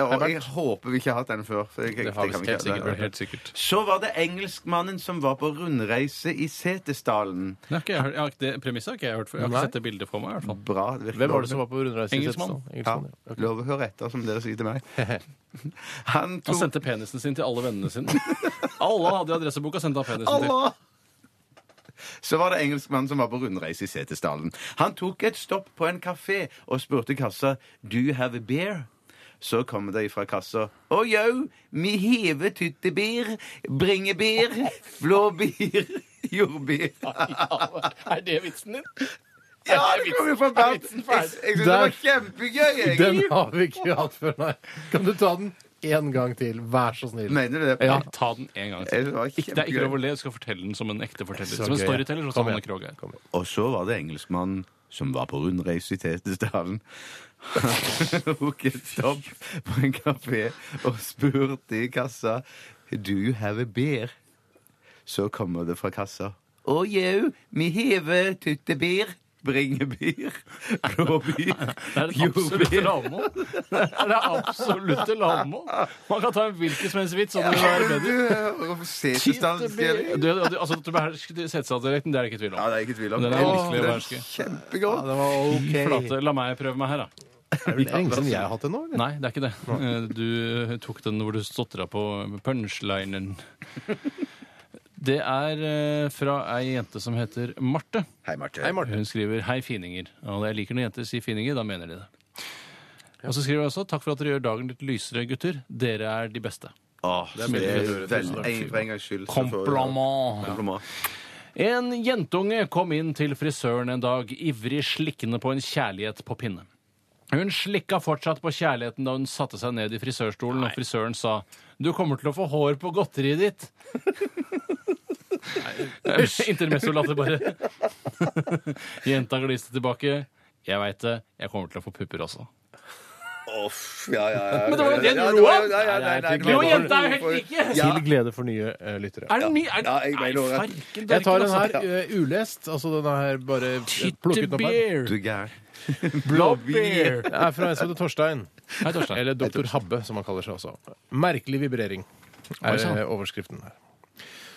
Og jeg håper vi ikke har hatt den før. For jeg,
Det har vi
kan vi
helt
ikke ha.
sikkert
Nei.
vært.
Helt sikkert.
Så var det engelskmannen som var på rundreise i Setesdalen.
Det, har ikke jeg, hørt- jeg har ikke, det premisset har ikke jeg hørt før. Jeg har
Nei.
ikke sett det bildet for meg. i hvert fall.
Bra. det virker
Hvem var
lovende.
det som var på rundreise? i
Engelskmann.
Setesdal?
ja,
Engelskmann, ja.
Lov å høre etter, som dere sier til
[laughs]
meg. Han
Han
tok
sendte penisen sin til alle vennene sine. Alle hadde i adresseboka sendt han penisen til.
Allah! Så var det engelskmannen som var på rundreise i Setesdalen. Han tok et stopp på en kafé og spurte kassa Do you have a beer? Så kom det ifra kassa Å jau, mi heve tyttebir, bringebir, [laughs] blåbir, jordbir.
Er det vitsen din?
Ja, det kom jo fra Bernt.
vitsen
Jeg,
ferdig?
jeg synes det
Der-
var kjempegøy. jeg.
Den har vi ikke hatt før, nei. Kan du ta den én gang til? Vær så snill.
Mener du det?
Ja.
Ta den en gang
Jeg
til.
synes Det var
Ikke, det er ikke
kjempegøy.
lov å le. Du skal fortelle den som en ekte forteller.
Eh, Så
Som en
gøy.
storyteller. Som
Kom
Anne
igjen.
Krogh er.
Og så var det engelskmannen som var på rundreise i [laughs] Tetesdalen. Han tok et stopp på en kafé og spurte i kassa Do you have a beer? Så kommer det fra kassa. Å jau, mi hever tyttebir,
[laughs]
bringebir, blåbir,
Det er den absolutte lavmål. Det er det absolutte lavmål. Man kan ta en hvilken som helst vits. Og det vil være bedre.
Setesdalsdialekt. [laughs]
Du, du, altså, at du behersker setesdialekten, det er det ikke tvil
Ja,
om.
det er ikke tvil om.
Den er
Åh,
virkelig å
den er
beherske.
Ja,
Kjempegodt.
det var
Fy
ok.
flate, la meg prøve meg her, da.
Det er vel lenge siden jeg har hatt det nå, eller?
Nei, det er ikke det. Eh, Du tok den hvor du stotra på punchlinen. Det er eh, fra ei jente som heter Marte.
Hei, Marte.
Hei, Marte.
Hun skriver 'Hei, fininger'. Og jeg liker når jenter sier 'fininger', da mener de det. Og så skriver hun også 'Takk for at dere gjør dagen litt lysere, gutter. Dere er de beste'.
Åh, det er veldig For en gangs skyld. så får-
Kompliment.
Kompliment.
En jentunge kom inn til frisøren en dag, ivrig slikkende på en kjærlighet på pinne. Hun slikka fortsatt på kjærligheten da hun satte seg ned i frisørstolen, og frisøren sa 'Du kommer til å få hår på godteriet ditt'. [laughs] Intermezzo-latter bare. [laughs] Jenta gliste tilbake. 'Jeg veit det. Jeg kommer til å få pupper også'.
Uff, ja, ja,
[laughs]
ja.
Men det var jo det du
Ja,
lo av!
var- ja, ja, nei, nei, det var-
Jo, jenta er jo helt like!
Ja.
Til glede for nye eh, lyttere.
Er det ny? Er det,
Ja, jeg mener også at-
Jeg
farken
tar
dørken,
den
altså.
her eh, ulest. Altså den her bare eh, plukket opp her.
Tyttebeer.
Du er gæren.
Blåbeer.
Det er fra en som heter Torstein.
Hei, Torstein.
Eller Doktor Habbe, som han kaller seg også. Merkelig vibrering
Oi,
er
sann.
eh, overskriften her.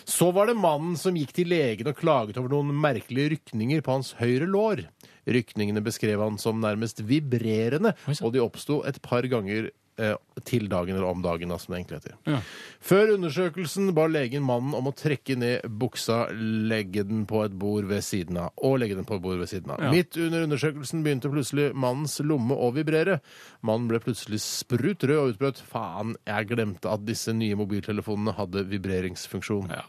Så var det mannen som gikk til legen og klaget over noen merkelige rykninger på hans høyre lår. Rykningene beskrev han som nærmest vibrerende,
Oi, sann.
og de oppsto et par ganger eh, til dagen eller om dagen, da, som det egentlig heter.
Ja.
Før undersøkelsen ba legen mannen om å trekke ned buksa, legge den på et bord ved siden av, og legge den på et bord ved siden av.
Ja.
Midt under undersøkelsen begynte plutselig mannens lomme å vibrere. Mannen ble plutselig sprut rød og utbrøt 'faen, jeg glemte at disse nye mobiltelefonene hadde vibreringsfunksjon'.
Ja,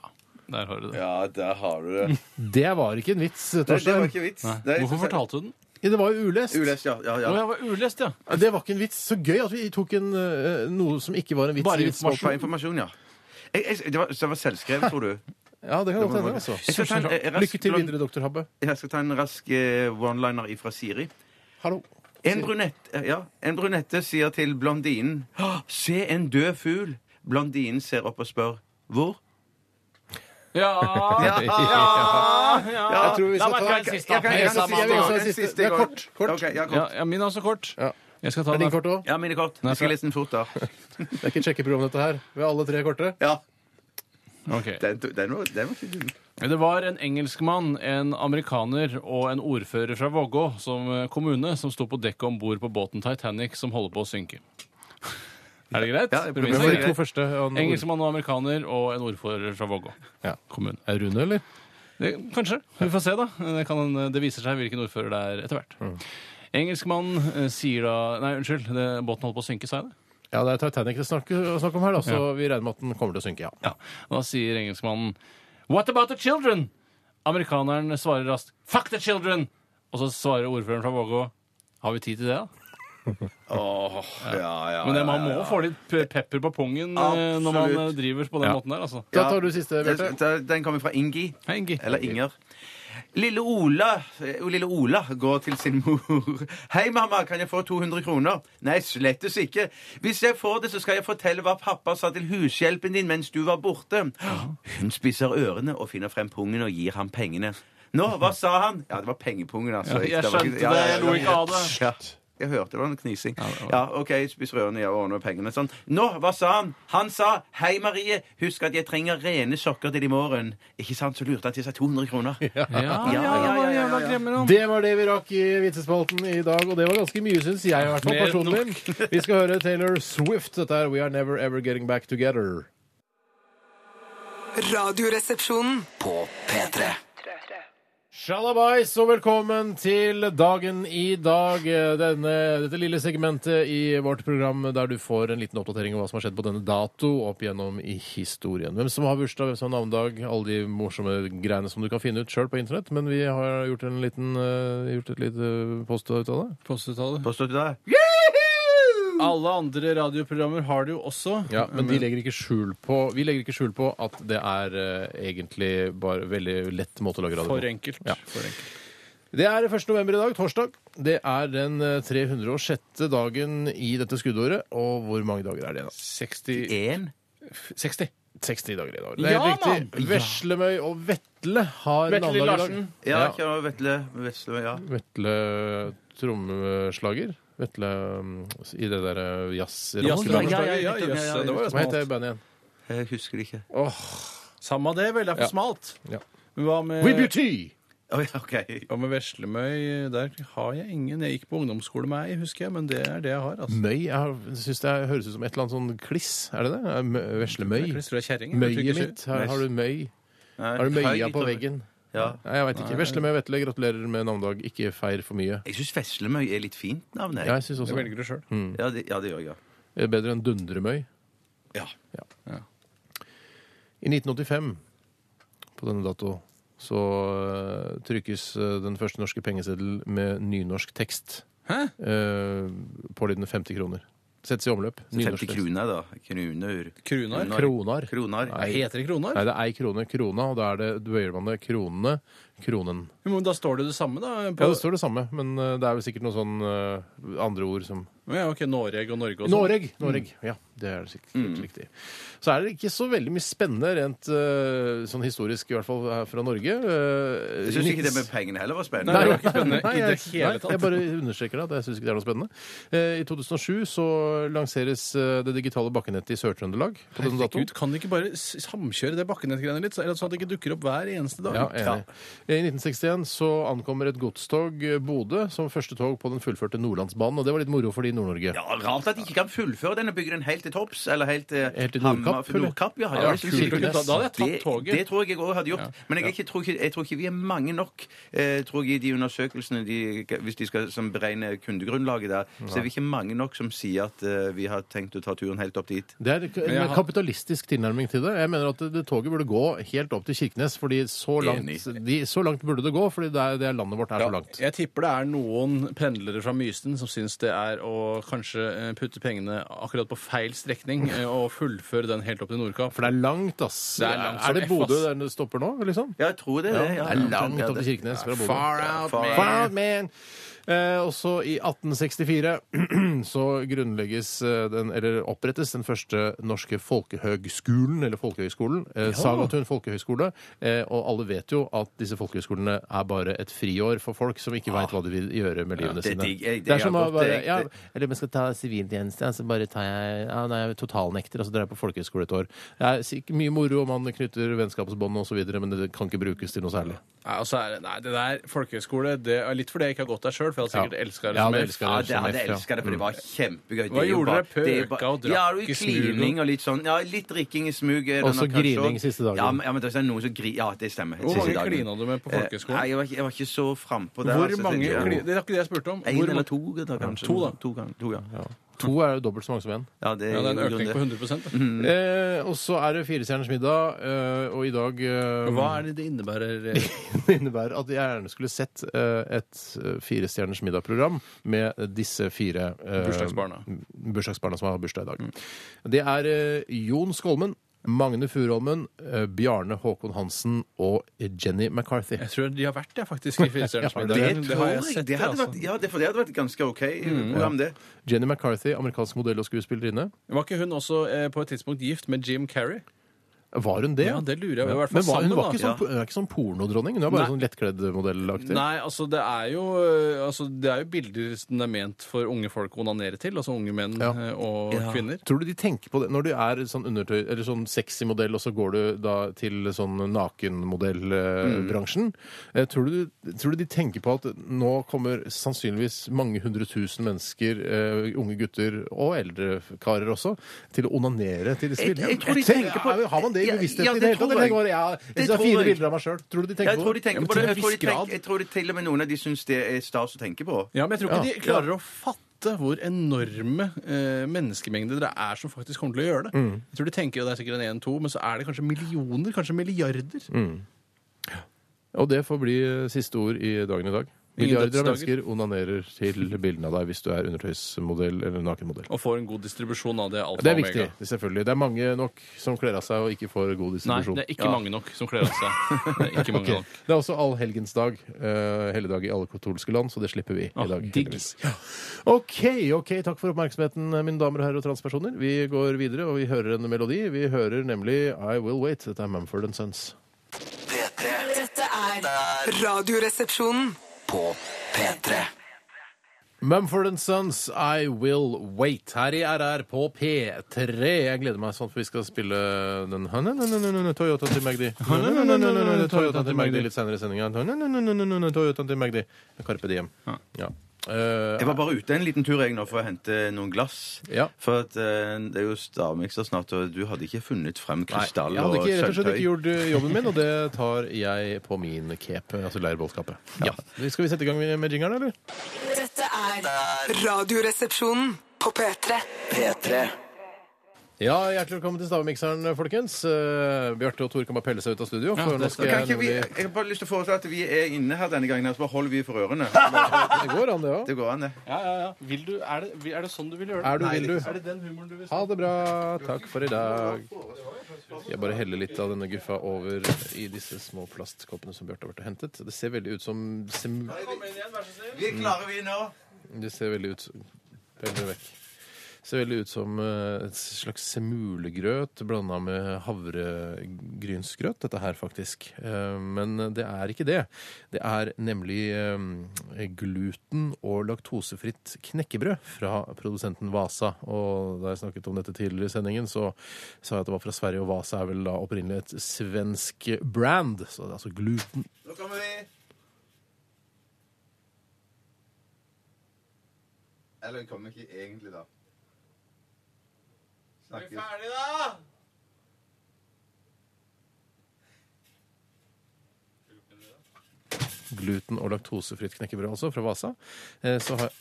der har du det.
Ja, der har du det.
Det var ikke en vits,
Det, det var
Torstein.
ikke vits.
Nei. Hvorfor fortalte du den?
Det var jo ulest.
Ulest, ja. ja,
Å,
ja.
jeg var ulest, ja.
Det var ikke en vits. Så gøy at vi tok en, eh, noe som ikke var en vits.
Bare
i vitsmåten.
Fra informasjon, ja. Jeg, jeg, det, var, det var selvskrevet,
[laughs]
tror du?
Ja, det kan godt hende. Altså.
Jeg skal ta en, eh, rask-
Lykke til videre, doktor Habbe.
Jeg skal ta en rask eh, one-liner ifra Siri.
Hallo.
En brunette, ja, en brunette sier til blondinen «Hå, Se en død fugl! Blondinen ser opp og spør hvor?
Ja, ja,
Jeg tror vi skal
La meg
ta
ta en siste, da.
Jeg kan- jeg kan- jeg vil også ha en siste. Det er kort. kort.
Ok, ja,
ja,
kort.
ja min er også kort.
Ja.
Jeg skal
Er
ta
din
den.
kort òg?
Ja, mine kort. Vi skal lese den fort, da.
Det er ikke et sjekkeprogram, dette her. Vi har alle tre korte.
Ja,
Ok.
den, den, var, den var ikke dum.
Det var en engelskmann, en amerikaner og en ordfører fra Vågå som eh, kommune som sto på dekket om bord på båten Titanic som holder på å synke. Er det greit?
Ja, jeg prøver.
Premissen
Hvem
er
var
grei.
de to første? Han-
Engelskmann og amerikaner og en ordfører fra Vågå
Ja.
kommune.
Er det Rune, eller?
Det, kanskje. Vi får se, da. Det, kan, det viser seg hvilken ordfører det er etter hvert.
Mm.
Engelskmannen eh, sier da Nei, unnskyld. Det, båten holdt på å synke, sa jeg det?
Ja, det er Titanic det er snakk, snakk om her, da, så vi regner med at den kommer til å synke, ja.
Ja. Da sier engelskmannen What about the children? Amerikaneren svarer raskt Fuck the children! Og så svarer ordføreren fra Vågå Har vi tid til det, da?
[laughs] Åh, ja, ja,
Men det, man
ja,
må
ja, ja.
få litt pe- pepper på pungen eh, når man eh,
Absolutt.
driver på den måten der, altså.
Da tar du siste, Bjarte.
Den- Den kommer fra Ingi.
Hei, Ingi.
Eller Inger. Lille Ola, eh, lille Ola går til sin mor. [laughs] 'Hei, mamma, kan jeg få 200 kroner?' 'Nei, slettes ikke. Hvis jeg får det, så skal jeg fortelle hva pappa sa til hushjelpen din mens du var borte.' [gasps] Hun spisser ørene og finner frem pungen og gir ham pengene. 'Nå, hva sa han?' Ja, det var pengepungen, altså.
Jeg
var ikke-
skjønte
ja,
det.
ja, ja,
Jeg lo ikke av det.
ja. Jeg hørte det var en knising. Ja, OK, spiss rørene, jeg ordner pengene. Sånn. Nå, hva sa han? Han sa 'Hei, Marie, husk at jeg trenger rene sokker til i morgen'. Ikke sant? Så lurte han til seg 200 kroner.
[laughs]
Ja, ja, ja, ja, ja, ja, ja. glemmer han.
Det var det vi rakk i vitsespalten i dag, og det var ganske mye, syns jeg, i hvert fall
Mer enn
personlig. Vi skal høre Taylor Swift. Dette er We Are Never Ever Getting Back Together.
Radioresepsjonen.
På P3
Shalabais, og velkommen til dagen i dag. Denne, dette lille segmentet i vårt program der du får en liten oppdatering om hva som har skjedd på denne dato opp gjennom i historien. Hvem som har bursdag, hvem som har navnedag, alle de morsomme greiene som du kan finne ut sjøl på internett. Men vi har gjort, en liten, eh, gjort et lite post ut av det.
Postuttalet.
Forstår du det?
Alle andre radioprogrammer har det jo også.
Ja, men de legger ikke skjul på, vi legger ikke skjul på at det er eh, egentlig bare veldig lett måte å lage radio på.
For enkelt.
Ja.
For enkelt.
Det er 1. november i dag, torsdag. Det er den eh, 306. dagen i dette skuddåret. Og hvor mange dager er det igjen?
60
Én?
60.
60 dager i dag. Det er helt
Ja,
riktig. Veslemøy og Vetle har
Vetle
navnedag i dag.
Larsen.
Ja,
Ja.
ja. Vetle Vesle, ja.
Vetle trommeslager. Vetle mm, i det derre
ja,
jazzrommet.
ja.
Hva heter bandet igjen?
Jeg husker det ikke. [laughs]
Samme det, vel. Det er for smalt.
Ja.
Men Hva med,
We Beauty!
Å, ja, OK.
hva med Veslemøy? Der har jeg ingen. Jeg gikk på ungdomsskole med ei, husker jeg, men det er det jeg har. altså.
Møy jeg syns det høres ut som et eller annet sånn kliss. Er det det? Mø- Veslemøy?
Jeg tror det er kjerring. jeg. Jeg
Møyet
tror ikke-
mitt? Her har du møy?
Nei,
Har du
høy
møya
litt
på
over-
veggen?
Ja.
Nei, jeg veit ikke. Vesle med Vetle, gratulerer med navnedag. Ikke feir for mye.
Jeg syns Veslemøy er litt fint navn. jeg.
Ja, jeg synes
Jeg
også
velger det sjøl.
Ja, det, ja, det gjør jeg. ja.
det er Bedre enn Dundremøy.
Ja.
Ja. I 1985, på denne dato, så eh, trykkes eh, den første norske pengeseddel med nynorsk tekst. eh, pålydende 50 kroner. Settes i omløp.
50
Nynorsk tekst.
kroner, da. Kruner.
Kroner?
Kronar.
Kroner.
Nei.
Heter det kroner?
Nei, det er ei krone krona, og da er det, bøyer man det kronene, kronen.
Jo, Men da står det det samme, da?
Ja,
På,
det står det samme, men eh, det er vel sikkert noen sånn eh, andre ord som
ja, ok, Noreg og Norge og sånn. Mm.
Noreg! Noreg. Ja, det er det sikkert helt riktig. Så er det ikke så veldig mye spennende rent eh, sånn historisk, i hvert fall her fra Norge. Eh,
Jeg syns ikke det
nitt-
med pengene heller var
Nei, det
spennende.
var ikke spennende
[laughs] Nei,
i det
jeg-
hele
nei,
tatt.
Jeg bare understreker det. at Jeg syns ikke det er noe spennende. Eh, I 2007 så lanseres eh, det digitale bakkenettet i Sør-Trøndelag på denne datoen.
Herregud, kan de ikke bare s- samkjøre det bakkenettgreiene litt, så- eller sånn at det ikke dukker opp hver eneste dag?
Ja, enig. Eh, I 1961 så ankommer et godstog eh, Bodø som første tog på den fullførte Nordlandsbanen. Og det var litt moro for de i Nord-Norge.
Ja, Rart at de ikke kan fullføre den og bygge den helt til topps. Eller helt til,
Helt til
Hamar-
Nordkapp, eller?
Nordkapp, ja.
Ja,
det synes
kult.
jeg ikke-
Da, da hadde jeg tatt
Det, det
toget.
tror jeg jeg òg hadde gjort. Men jeg, er ikke, tror ikke, jeg tror ikke vi er mange nok eh, tror jeg, i de undersøkelsene de, hvis de skal som beregne kundegrunnlaget der. Så er vi ikke mange nok som sier at eh, vi har tenkt å ta turen helt opp dit.
Det er en
Men jeg har-
kapitalistisk tilnærming til det. Jeg mener at det, det toget burde gå helt opp til Kirkenes, fordi så langt,
Enig.
de, så langt burde det gå, fordi det, er, det er landet vårt er så langt.
Jeg tipper det er noen pendlere fra Mysen som syns det er å kanskje eh, putte pengene akkurat på feil strekning eh, og fullføre den helt opp til Nordkapp.
For det er langt, ass.
Det er langt som
er det
F, ass.
Bodø der det stopper nå, liksom?
Ja, jeg tror det.
Det er langt opp til Kirkenes fra Bodø.
out,
Far
Far out, man! Eh, også i 1864 [clears throat] så grunnlegges eh, den, eller opprettes den første norske folkehøgskolen, eller folkehøgskolen, eh, Sagatun folkehøgskole. Eh, og alle vet jo at disse folkehøgskolene er bare et friår for folk som ikke veit hva de vil gjøre med livene
det er
sine.
digg. Jeg- det
Ah. Det er
er
som å
godt,
bare
det er
ja,
riktig.
Eller om jeg skal ta siviltjeneste, ja, så bare tar jeg ja, Nei, jeg er totalnekter, og så drar jeg på folkehøgskole et år. Det er sikk- mye moro, og man knytter vennskapsbånd og så videre, men det kan ikke brukes til noe særlig.
Nei, og så er det, nei, det der folkehøyskole det er Litt fordi jeg ikke har gått der sjøl, for jeg hadde sikkert
Ja.
elsket
Ja,
det som
det
helst.
elsker
Ja,
jeg
det
som
hadde
helst,
jeg
ja. Mm.
elska det, for det var kjempegøy. Det
Hva
er jo
gjorde
bare-
dere?
det er bare-
Pøka og drakk
Ja, det var jo
i smug og-
klining og litt sånn. Ja, litt drikking i smug. er det
Og så
nok kanskje
grining
også.
siste dagen.
Ja, men, ja, men det er sånn noen som gri... Ja, det stemmer.
Hvor
Siste
mange
dagen.
klina du med på
Eh,
folkehøyskolen?
Nei, jeg var, ikke- jeg var ikke så frampå der.
Hvor
altså,
mange
tenkte jeg.
kli- Det er ikke det jeg spurte om.
En
Hvor
eller
mange-
to, da, kanskje.
To, da.
To, gang- to, ja.
To er jo dobbelt så mange som én.
Ja, det,
Ja, det er en
jo
økning
det.
på 100 da.
Mm.
Eh, og så er det Firestjerners middag, eh, og i dag eh,
Hva er det det innebærer? eh?
[laughs] Det innebærer at jeg gjerne skulle sett eh, et eh, Firestjerners middag-program med disse fire eh,
Bursdagsbarna. Mm.
bursdagsbarna som har bursdag i dag. Det er eh, Jon Skolmen, Magne Furuholmen, eh, Bjarne Håkon Hansen og Jenny McCarthy.
Jeg tror de har vært der, faktisk, i Firestjerners
Ja,
middag.
det
Det tror
har
jeg.
jeg sett.
Det hadde
altså. Mm.
vært, ja, det, for det hadde vært ganske OK program, det.
Jenny McCarthy, amerikansk modell og skuespillerinne.
Var ikke hun også eh, på et tidspunkt gift med Jim Carrey?
Var hun det?
Ja, det lurer jeg på. I hvert fall
Men var, hun,
sammen,
var
da.
ikke sånn, hun er ikke sånn pornodronning? Hun er bare
Nei.
sånn lettkledd modellaktig.
Nei, altså det er jo eh, altså, Det er jo bilder som er ment for unge folk å onanere til. Altså unge menn
Ja.
eh, og kvinner.
Tror du de tenker på det når du er sånn undertøy Eller sånn sexy modell, og så går du da til sånn nakenmodellbransjen? Eh, tror, du- tror du de tenker på at nå kommer sannsynligvis mange hundre tusen mennesker, eh, unge gutter og eldre karer også, til å onanere til disse
Jeg-
bildene?
jeg tror de
Tenker
tenker
på-
på-
Har man det i
Ja,
bevisstheten
ja,
i
det
det hele tatt?
tror
Eller
jeg.
bare ja,
Det
hvis det er
tror
fine
jeg.
bilder av meg sjøl? Tror du de tenker
Jeg tror de
på det?
tenker
men
på
til
det.
en
Jeg tror de,
viss grad.
tenker, jeg tror de til og med noen av de syns det er stas å tenke på.
Ja, men jeg tror ikke
Ja.
de klarer å fatte hvor enorme eh, menneskemengder det er som faktisk kommer til å gjøre det.
Mm.
Jeg tror de tenker jo det er sikkert en én-to, men så er det kanskje millioner, kanskje milliarder.
Mm. Og det får bli eh, siste ord i dagen i dag.
Ingen
Milliarder av mennesker
dødsdager.
onanerer til bildene av deg hvis du er undertøysmodell eller nakenmodell.
Og får en god distribusjon av det. Alfa
Det er
og
viktig,
omega.
det er selvfølgelig. Det er mange nok som kler av seg og ikke får god
Nei,
distribusjon.
det er ikke mange nok som kler av seg.
[laughs]
Det er ikke mange nok.
Det er også allhelgensdag. Uh, helligdag i alle katolske land, så det slipper vi
Ah,
i dag.
digg.
heldigvis. Ja. OK, ok, takk for oppmerksomheten, mine damer og herrer og transpersoner. Vi går videre, og vi hører en melodi. Vi hører nemlig I Will Wait. Dette er Mumford and Sons.
P3
Dette er Radioresepsjonen.
på P3
Mumford and Sons, I Will Wait, her i RR på P3. Jeg gleder meg sånn, for vi skal spille den Toyota til Magdi. Toyota til Magdi litt senere i sendinga. Toyota til Magdi. Carpe Diem. Ja. Eh,
Jeg var bare ute en liten tur jeg nå for å hente noen glass.
Ja.
For at, eh, det er jo stavmikser snart, og du hadde ikke funnet frem krystall
jeg hadde
og
ikke, rett og slett ikke
sølvtøy.
gjort eh, jobben min, og det tar jeg på min cape, altså leirbålskappe. Ja. Skal vi sette i gang med med jingeren, eller?
Dette er Radioresepsjonen på P3.
P3
Ja, Hjertelig velkommen til Stavmikseren, folkens. Eh, Bjarte og Tor kan bare pelle seg ut av studio.
Ja,
for
det
nå
skal-
skal
Kan
jeg
ikke vi,
nemlig...
jeg har bare lyst til å foreslå at vi er inne her denne gangen, og så bare holder vi for
[laughs]
ørene.
Det går an, det òg.
Det går an, det.
Ja, ja, ja. Vil du, er, det, er det sånn du vil gjøre det?
Er du, vil du?
Er det den humoren du vil
Ha det bra. Takk for i dag. Jeg bare heller litt av denne guffa over i disse små plastkoppene som Bjarte har vært og hentet. Det ser veldig ut som sem...
Vi er klare, vi nå.
Det ser veldig ut som Veldig vekk. Ser veldig ut som eh, et slags semulegrøt blanda med havregrynsgrøt, dette her, faktisk. Eh, Men det er ikke det. Det er nemlig eh, gluten- og laktosefritt knekkebrød fra produsenten Vasa. Og da jeg snakket om dette tidligere i sendingen, så sa jeg at det var fra Sverige, og Vasa er vel da opprinnelig et svensk brand. Så det er altså gluten
Nå kommer vi. Eller vi kommer ikke egentlig, da. Snakkes.
ferdig, da?
gluten- og laktosefritt knekkebrød altså, fra Vasa. Eh, Så har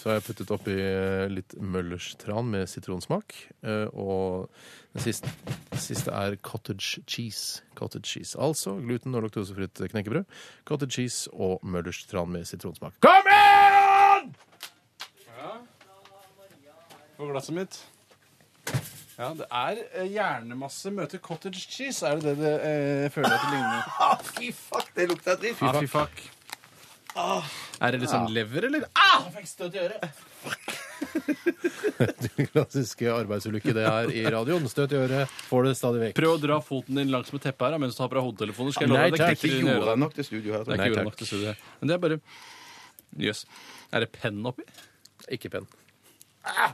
Så har jeg puttet oppi eh, litt møllerstran med sitronsmak. eh, Og den siste, den siste er cottage cheese. Cottage cheese, Altså gluten- og laktosefritt knekkebrød, cottage cheese og møllerstran med sitronsmak. Kom igjen!
På glasset mitt. Ja, det er eh, hjernemasse møter cottage cheese. Er det det det eh, jeg føler at det ligner?
Ah, fy fuck, det lukter dritt.
Ja, Ah, fy fuck. sånn
Er det liksom lever, eller?
Ah, Jeg fikk støt i øret.
Den [laughs] klassiske arbeidsulykke det er i radioen. Støt i øret får det stadig vekk.
Prøv å dra foten din langs med teppet her da, mens du har på deg hodetelefoner. Skal jeg
Nei,
love deg, det
takk.
Ikke
knekker inn i øret.
jorda nok til studio
Det er
her. tror jeg.
Nei,
ikke
takk.
jorda nok til studiet. Men det er bare Jøss. Er det penn oppi?
Ikke penn. Ah!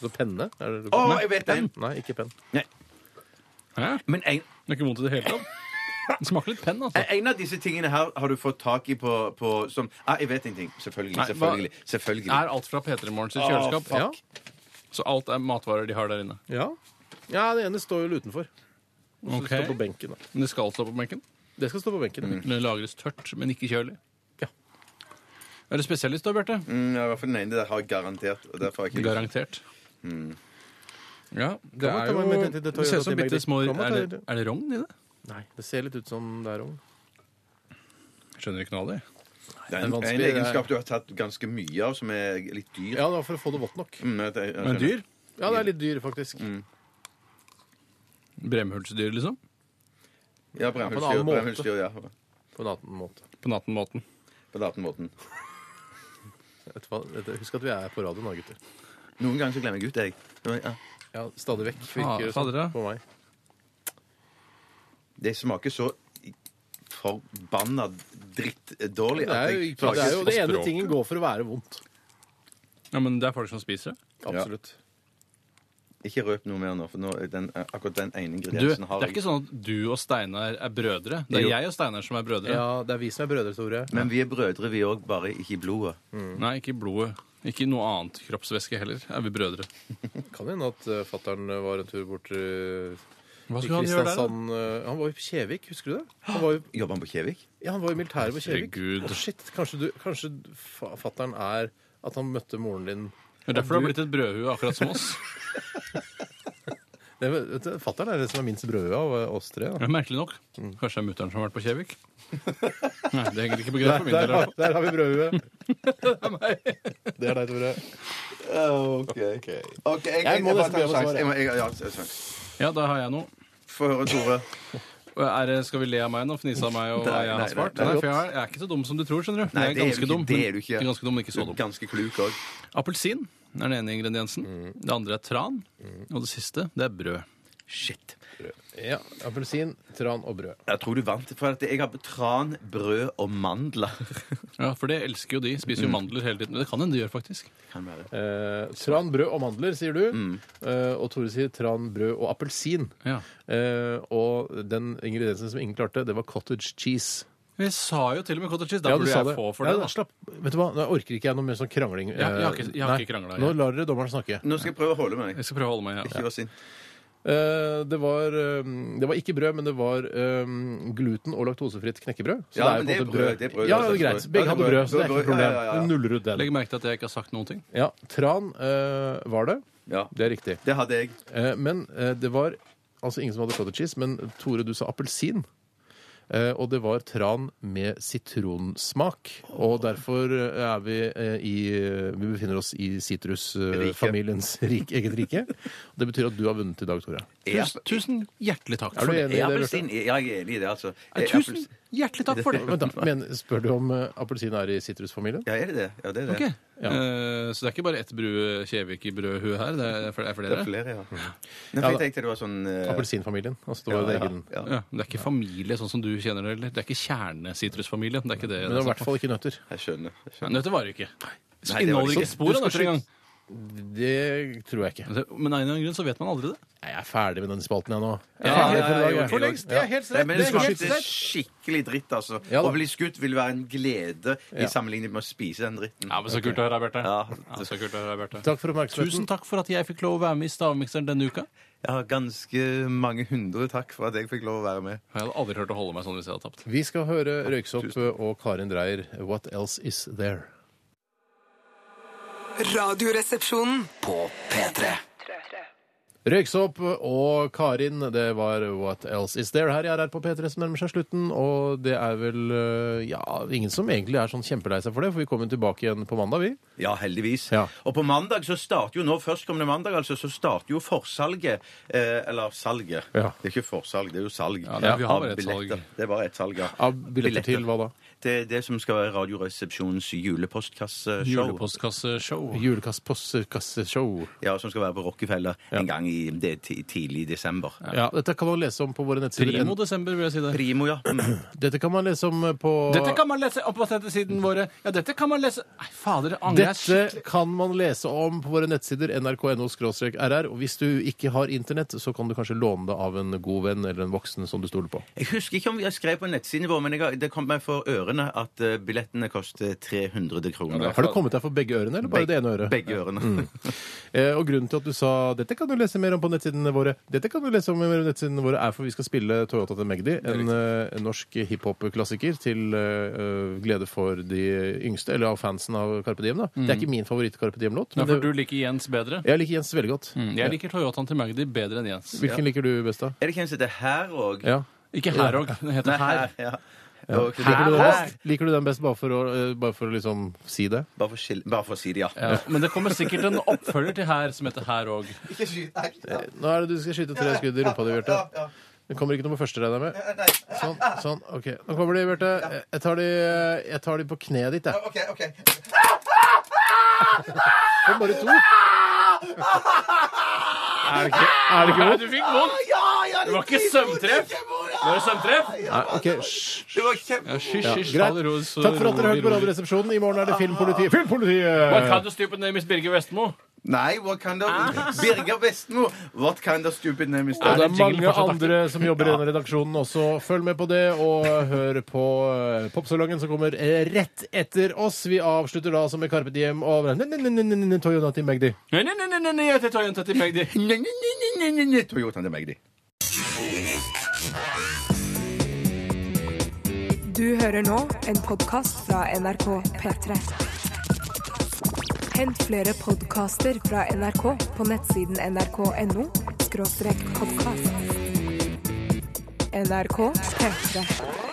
Så penne? Er det
Å, jeg vet en.
Nei, ikke penn.
Hæ?
Men en,
Det er ikke vondt i det hele tatt. Det smaker litt penn, altså.
en av disse tingene her har du fått tak i på, på som ah, Jeg vet en ting. Selvfølgelig.
Nei, hva-
selvfølgelig. selvfølgelig.
Er alt fra P3 Morgens kjøleskap?
fuck.
Ja. Så alt er matvarer de har der inne?
Ja. ja, det ene står jo utenfor. Så det står på benken. Da.
Men det skal stå på benken?
Det skal stå på benken.
Det lagres tørt, men ikke kjølig?
Ja.
Er du spesialist da, Bjarte? Mm.
Mm, ja, I hvert fall den ene der har jeg garantert. Og derfor har jeg ikke
Garantert. Ja, Mm. det
Kan man
er
ta
jo
med- med- med- med-
Det ser ut som
med- med-
bitte små
Kan man ta-
Er det, er det rogn i det?
Nei, det ser litt ut som det er ung.
Skjønner ikke noe av det.
Det er
Det er
en,
vanskelig,
en
det er-
egenskap du har tatt ganske mye av, som er litt dyr.
Ja, det var for å få det vått nok.
Mm, jeg- jeg-
Men
jeg skjønner.
dyr?
Ja, det er litt dyr, faktisk.
Bremhulsdyr, liksom?
Ja,
på en annen
brennhullsdyr.
måte.
brennhullsdyr, ja.
På en annen måte.
På natten-måten.
På den annen måten.
Vet du hva? Dette- Husk at vi er på radioen da, gutter.
Noen ganger så glemmer jeg ut det, jeg. Ja.
Ja, Stadig vekk
Ah,
virker det
fader, ja.
sånn på meg.
Det smaker så forbanna drittdårlig
Det er jo,
jeg
ikke, det, er jo, det ene
språket.
tingen går for å være vondt.
Ja, men det er folk som spiser det.
Absolutt.
Ikke røp noe mer nå, for nå, den, eh, akkurat den ene
Du, det
ingrediensen har
er ikke sånn at du og Steinar er brødre. Det er
Jo.
jeg og Steinar som er brødre.
Ja, det er vi som er brødre, Tore.
Men vi er brødre, vi òg, bare ikke i blodet.
Nei, ikke i blodet. Ikke i noe annet kroppsvæske heller. Er vi brødre?
Kan hende at uh, fattern var en tur bort eh,
Hva
I
skulle han gjøre der? da?
Kristiansand, eh, han var jo på Kjevik, husker du det? Han var jo,
Jobber han på Kjevik?
ja, han var jo i militæret på Kjevik.
Herregud.
Å, shit, kanskje, du, kanskje fattern er at han møtte moren din
Det er derfor du har blitt et brødhue, akkurat som oss.
Fattern er det som er minst brødhue av eh, oss tre. Da.
Ja, Merkelig nok. Kanskje det er mutter'n som har vært på Kjevik? Nei, det henger ikke på
Der,
greit for min
der,
del. i hvert
har-
fall.
der har vi brødhue.
[laughs]
Det er deg, Tore.
OK. jeg,
Jeg må
bare
nesten
ta
be om et
en sjanse.
svar,
Jeg må- jeg- ja, en sjanse.
Ja, da har jeg noe.
Få høre, Tore.
Og Er, det- skal vi le av meg nå? Fnise av meg og
Nei,
hva jeg
nei,
har svart?
nei,
Nei,
nei,
for jeg er- jeg er ikke så dum som du tror, skjønner du.
Nei,
Jeg
det er du
ganske
ikke,
dum,
det
men-
er du ikke.
jeg er Ganske dum, men ikke så dum.
Ganske kluk òg.
Appelsin er den ene ingrediensen. Det andre er tran. Og det siste, det er brød.
Shit.
Ja, Appelsin, tran og brød.
Jeg tror du vant, for at jeg har tran, brød og [laughs] mandler.
Ja, For det elsker jo de. Spiser jo mandler hele tiden. Men det kan hende de gjør, faktisk.
Kan være.
Eh, tran, brød og mandler, sier du.
Mm.
Eh, og Tore sier tran, brød og appelsin.
Ja.
Eh, og den ingrediensen som ingen klarte, det var cottage cheese.
Jeg sa jo til og med cottage cheese. Da
Ja, du
burde
sa
jeg
det.
få for
Nei,
det.
da,
Da.
slapp. Vet du hva, Nå orker ikke jeg noe mer sånn krangling. Eh,
jeg har ikke- jeg har
Nei.
ikke kranglet,
Nå
jeg.
lar dere dommeren snakke.
Nå skal jeg prøve å holde meg.
Jeg skal prøve å holde meg ja.
Ikke vær sint.
Eh, Det var, eh, det var ikke brød, men det var eh, gluten- og laktosefritt knekkebrød. Så jo
Ja,
på
men
en
det er
måte
brød, det er brød,
ja, det
det er
er greit.
brød. Ja, det
Begge
er
hadde
brød.
brød, så det er ikke
Det er
noe
brød,
problem.
ja, ja, ja.
Du nuller ut den.
Legg merke til at jeg ikke har sagt noen ting.
Ja, tran eh, var det.
Ja.
Det er riktig.
Det hadde jeg.
Eh, men eh, det var altså ingen som hadde cottage cheese, men Tore, du sa appelsin. Eh, og det var tran med sitronsmak. Og derfor eh, er vi eh, i Vi befinner oss i
Rike.
sitrusfamiliens rik, eget rike. Det betyr at du har vunnet i dag, Tore.
Er
Tusen, tusen hjertelig takk
Er
for
du
det.
enig i det? Bjarte?
appelsin Ja, jeg er enig i det, altså.
Eh,
Er
Tusen
appels-
hjertelig takk
[laughs]
for det.
Vent, da. Men, spør du om eh, appelsin er i sitrusfamilien?
Ja, er det det? Ja, det er det.
Ok. Eh, så det er ikke bare ett brue Kjevik i brødhue her? Det er, fl- det er
Det er
flere?
flere, ja. Nei,
Ja,
for jeg
da.
tenkte det var sånn eh,
Appelsinfamilien. Altså det var en
ja,
egen
ja.
Ja, men det er ikke familie sånn som du kjenner det, eller? Det er ikke kjernesitrusfamilien? Det er ikke det.
Men det var i hvert fall ikke nøtter.
Jeg skjønner. Jeg skjønner.
Nei, Nøtter varer jo ikke. Så
Nei, det var
inneholder
det
ikke
ikke.
et spor av
Du
nøtter
skal
engang. Altså,
Det tror jeg ikke.
Men av en eller annen grunn så vet man aldri det.
Nei, Jeg er ferdig med den spalten, jeg nå. Jeg
Ja,
er ferdig
ja, ja,
for i dag,
ja,
jeg.
for
lengst, det er helt
Nei, men
Det
det
er helt
smakte skikkelig dritt, altså.
Ja, da.
Å bli skutt vil være en glede
Ja.
i sammenligning med å spise den dritten.
Ja, men Så kult å høre, Bjarte.
Ja.
Ja, så kult å høre, Bjarte.
Takk for oppmerksomheten.
Tusen takk for at jeg fikk lov å være med i Stavmikseren denne uka.
Jeg har ganske mange hundre takk for at jeg fikk lov å være med.
Jeg hadde aldri hørt å holde meg sånn hvis jeg hadde tapt.
Vi skal høre Røyksopp og Karin Dreyer, 'What Else Is There'.
Radioresepsjonen.
På P3.
Røyksopp og Karin, det var 'What Else Is There' her i RR på P3 som nærmer seg slutten. Og det er vel øh, ja, ingen som egentlig er sånn kjempelei seg for det, for vi kommer tilbake igjen på mandag, vi.
Ja, heldigvis.
Ja.
Og på mandag så starter jo nå, førstkommende mandag, altså, så starter jo forsalget. Eh, eller salget.
Ja.
Det er ikke forsalg, det er jo salg.
Ja, det er- vi har
Av
bare et salg.
billetter. Det er bare et salg, ja.
Av billetter til hva da?
Det er det som skal være Radioresepsjonens julepostkasseshow.
Julepostkasseshow.
Julekassepostkasseshow.
Ja, som skal være på Rockefeller en gang i det, er ti- tidlig i desember.
Ja, dette kan man lese om på våre nettsider.
Primo desember, vil jeg si det.
Primo, ja.
Dette kan man lese om eh, på
Dette kan man lese opp på nettsidene våre. Ja, dette kan man lese Nei, fader, jeg angrer jeg skikkelig.
Dette kan man lese om på våre nettsider nrk.no-rr. Og hvis du ikke har internett, så kan du kanskje låne det av en god venn eller en voksen som du stoler på.
Jeg husker ikke om jeg skrev på nettsiden vår, men jeg, har- det kom meg for ørene at eh, billettene koster 300 kroner.
Har det kommet deg for begge ørene, eller bare det ene øret?
Begge ørene.
Eh, og grunnen til at du sa 'dette kan du lese mer om på nettsidene våre', Dette kan du lese om på nettsidene våre er for vi skal spille Toyota til Magdi, en eh, norsk hiphop-klassiker til eh, glede for de yngste, eller av fansen av Carpe Diem. da. Det er ikke min favoritt-Carpe Diem-låt,
Mm. Ja,
men
for
det,
du liker Jens bedre.
jeg liker Jens veldig godt.
Jeg liker Toyotaen til Magdi bedre enn Jens.
Hvilken liker du best, da?
Er det ikke en som heter Her òg?
Ja.
Ikke her òg. Den heter Her.
Ja. Og-
Liker, du den
Her?
best? liker du den best bare for å, eh, bare for å liksom si det?
Bare for, skil- bare for å si det, ja.
Ja, men det kommer sikkert en oppfølger til Her som heter Her òg.
Ikke skyt deg.
Nå er det du skal skyte tre skudd i rumpa di, Bjarte. Det kommer ikke noe på første, regner jeg med. Sånn, sånn, ok. Nå kommer de, Bjarte. Jeg tar de, jeg tar de på kneet ditt, jeg.
OK, OK.
Det er bare to. Er det ikke, er det ikke vondt?
Du fikk vondt! Det var ikke sømtreff! Var det sømtreff?
Nei, ok. Hysj.
Det var kjempe...
Ja, hysj, hysj.
Greit.
ta det ro, så
Takk for at dere
rolig,
hørte på
rolig.
Radioresepsjonen. I
Ah.
morgen er det Filmpolitiet.
What kind
Filmpolitiet!
of stupid name is Birger Vestmo?
Nei, what kind of Birger Vestmo! What kind of stupid name is
Og
that?
det
Er
er
det jingle
mange
fortsatt aktiv?
andre som jobber i denne redaksjonen også. Følg med på det, og hør på eh, popsalongen som kommer eh, rett etter oss. Vi avslutter da som med Carpe Diem og Toyota til Magdi.
Nei, nei, nei, nei, nei, nei, jeg heter Toyota til Magdi.
Toyotaen til Magdi.
Du hører nå en podkast fra NRK P3. Hent flere podkaster fra NRK på nettsiden nrk.no podkast. NRK P3.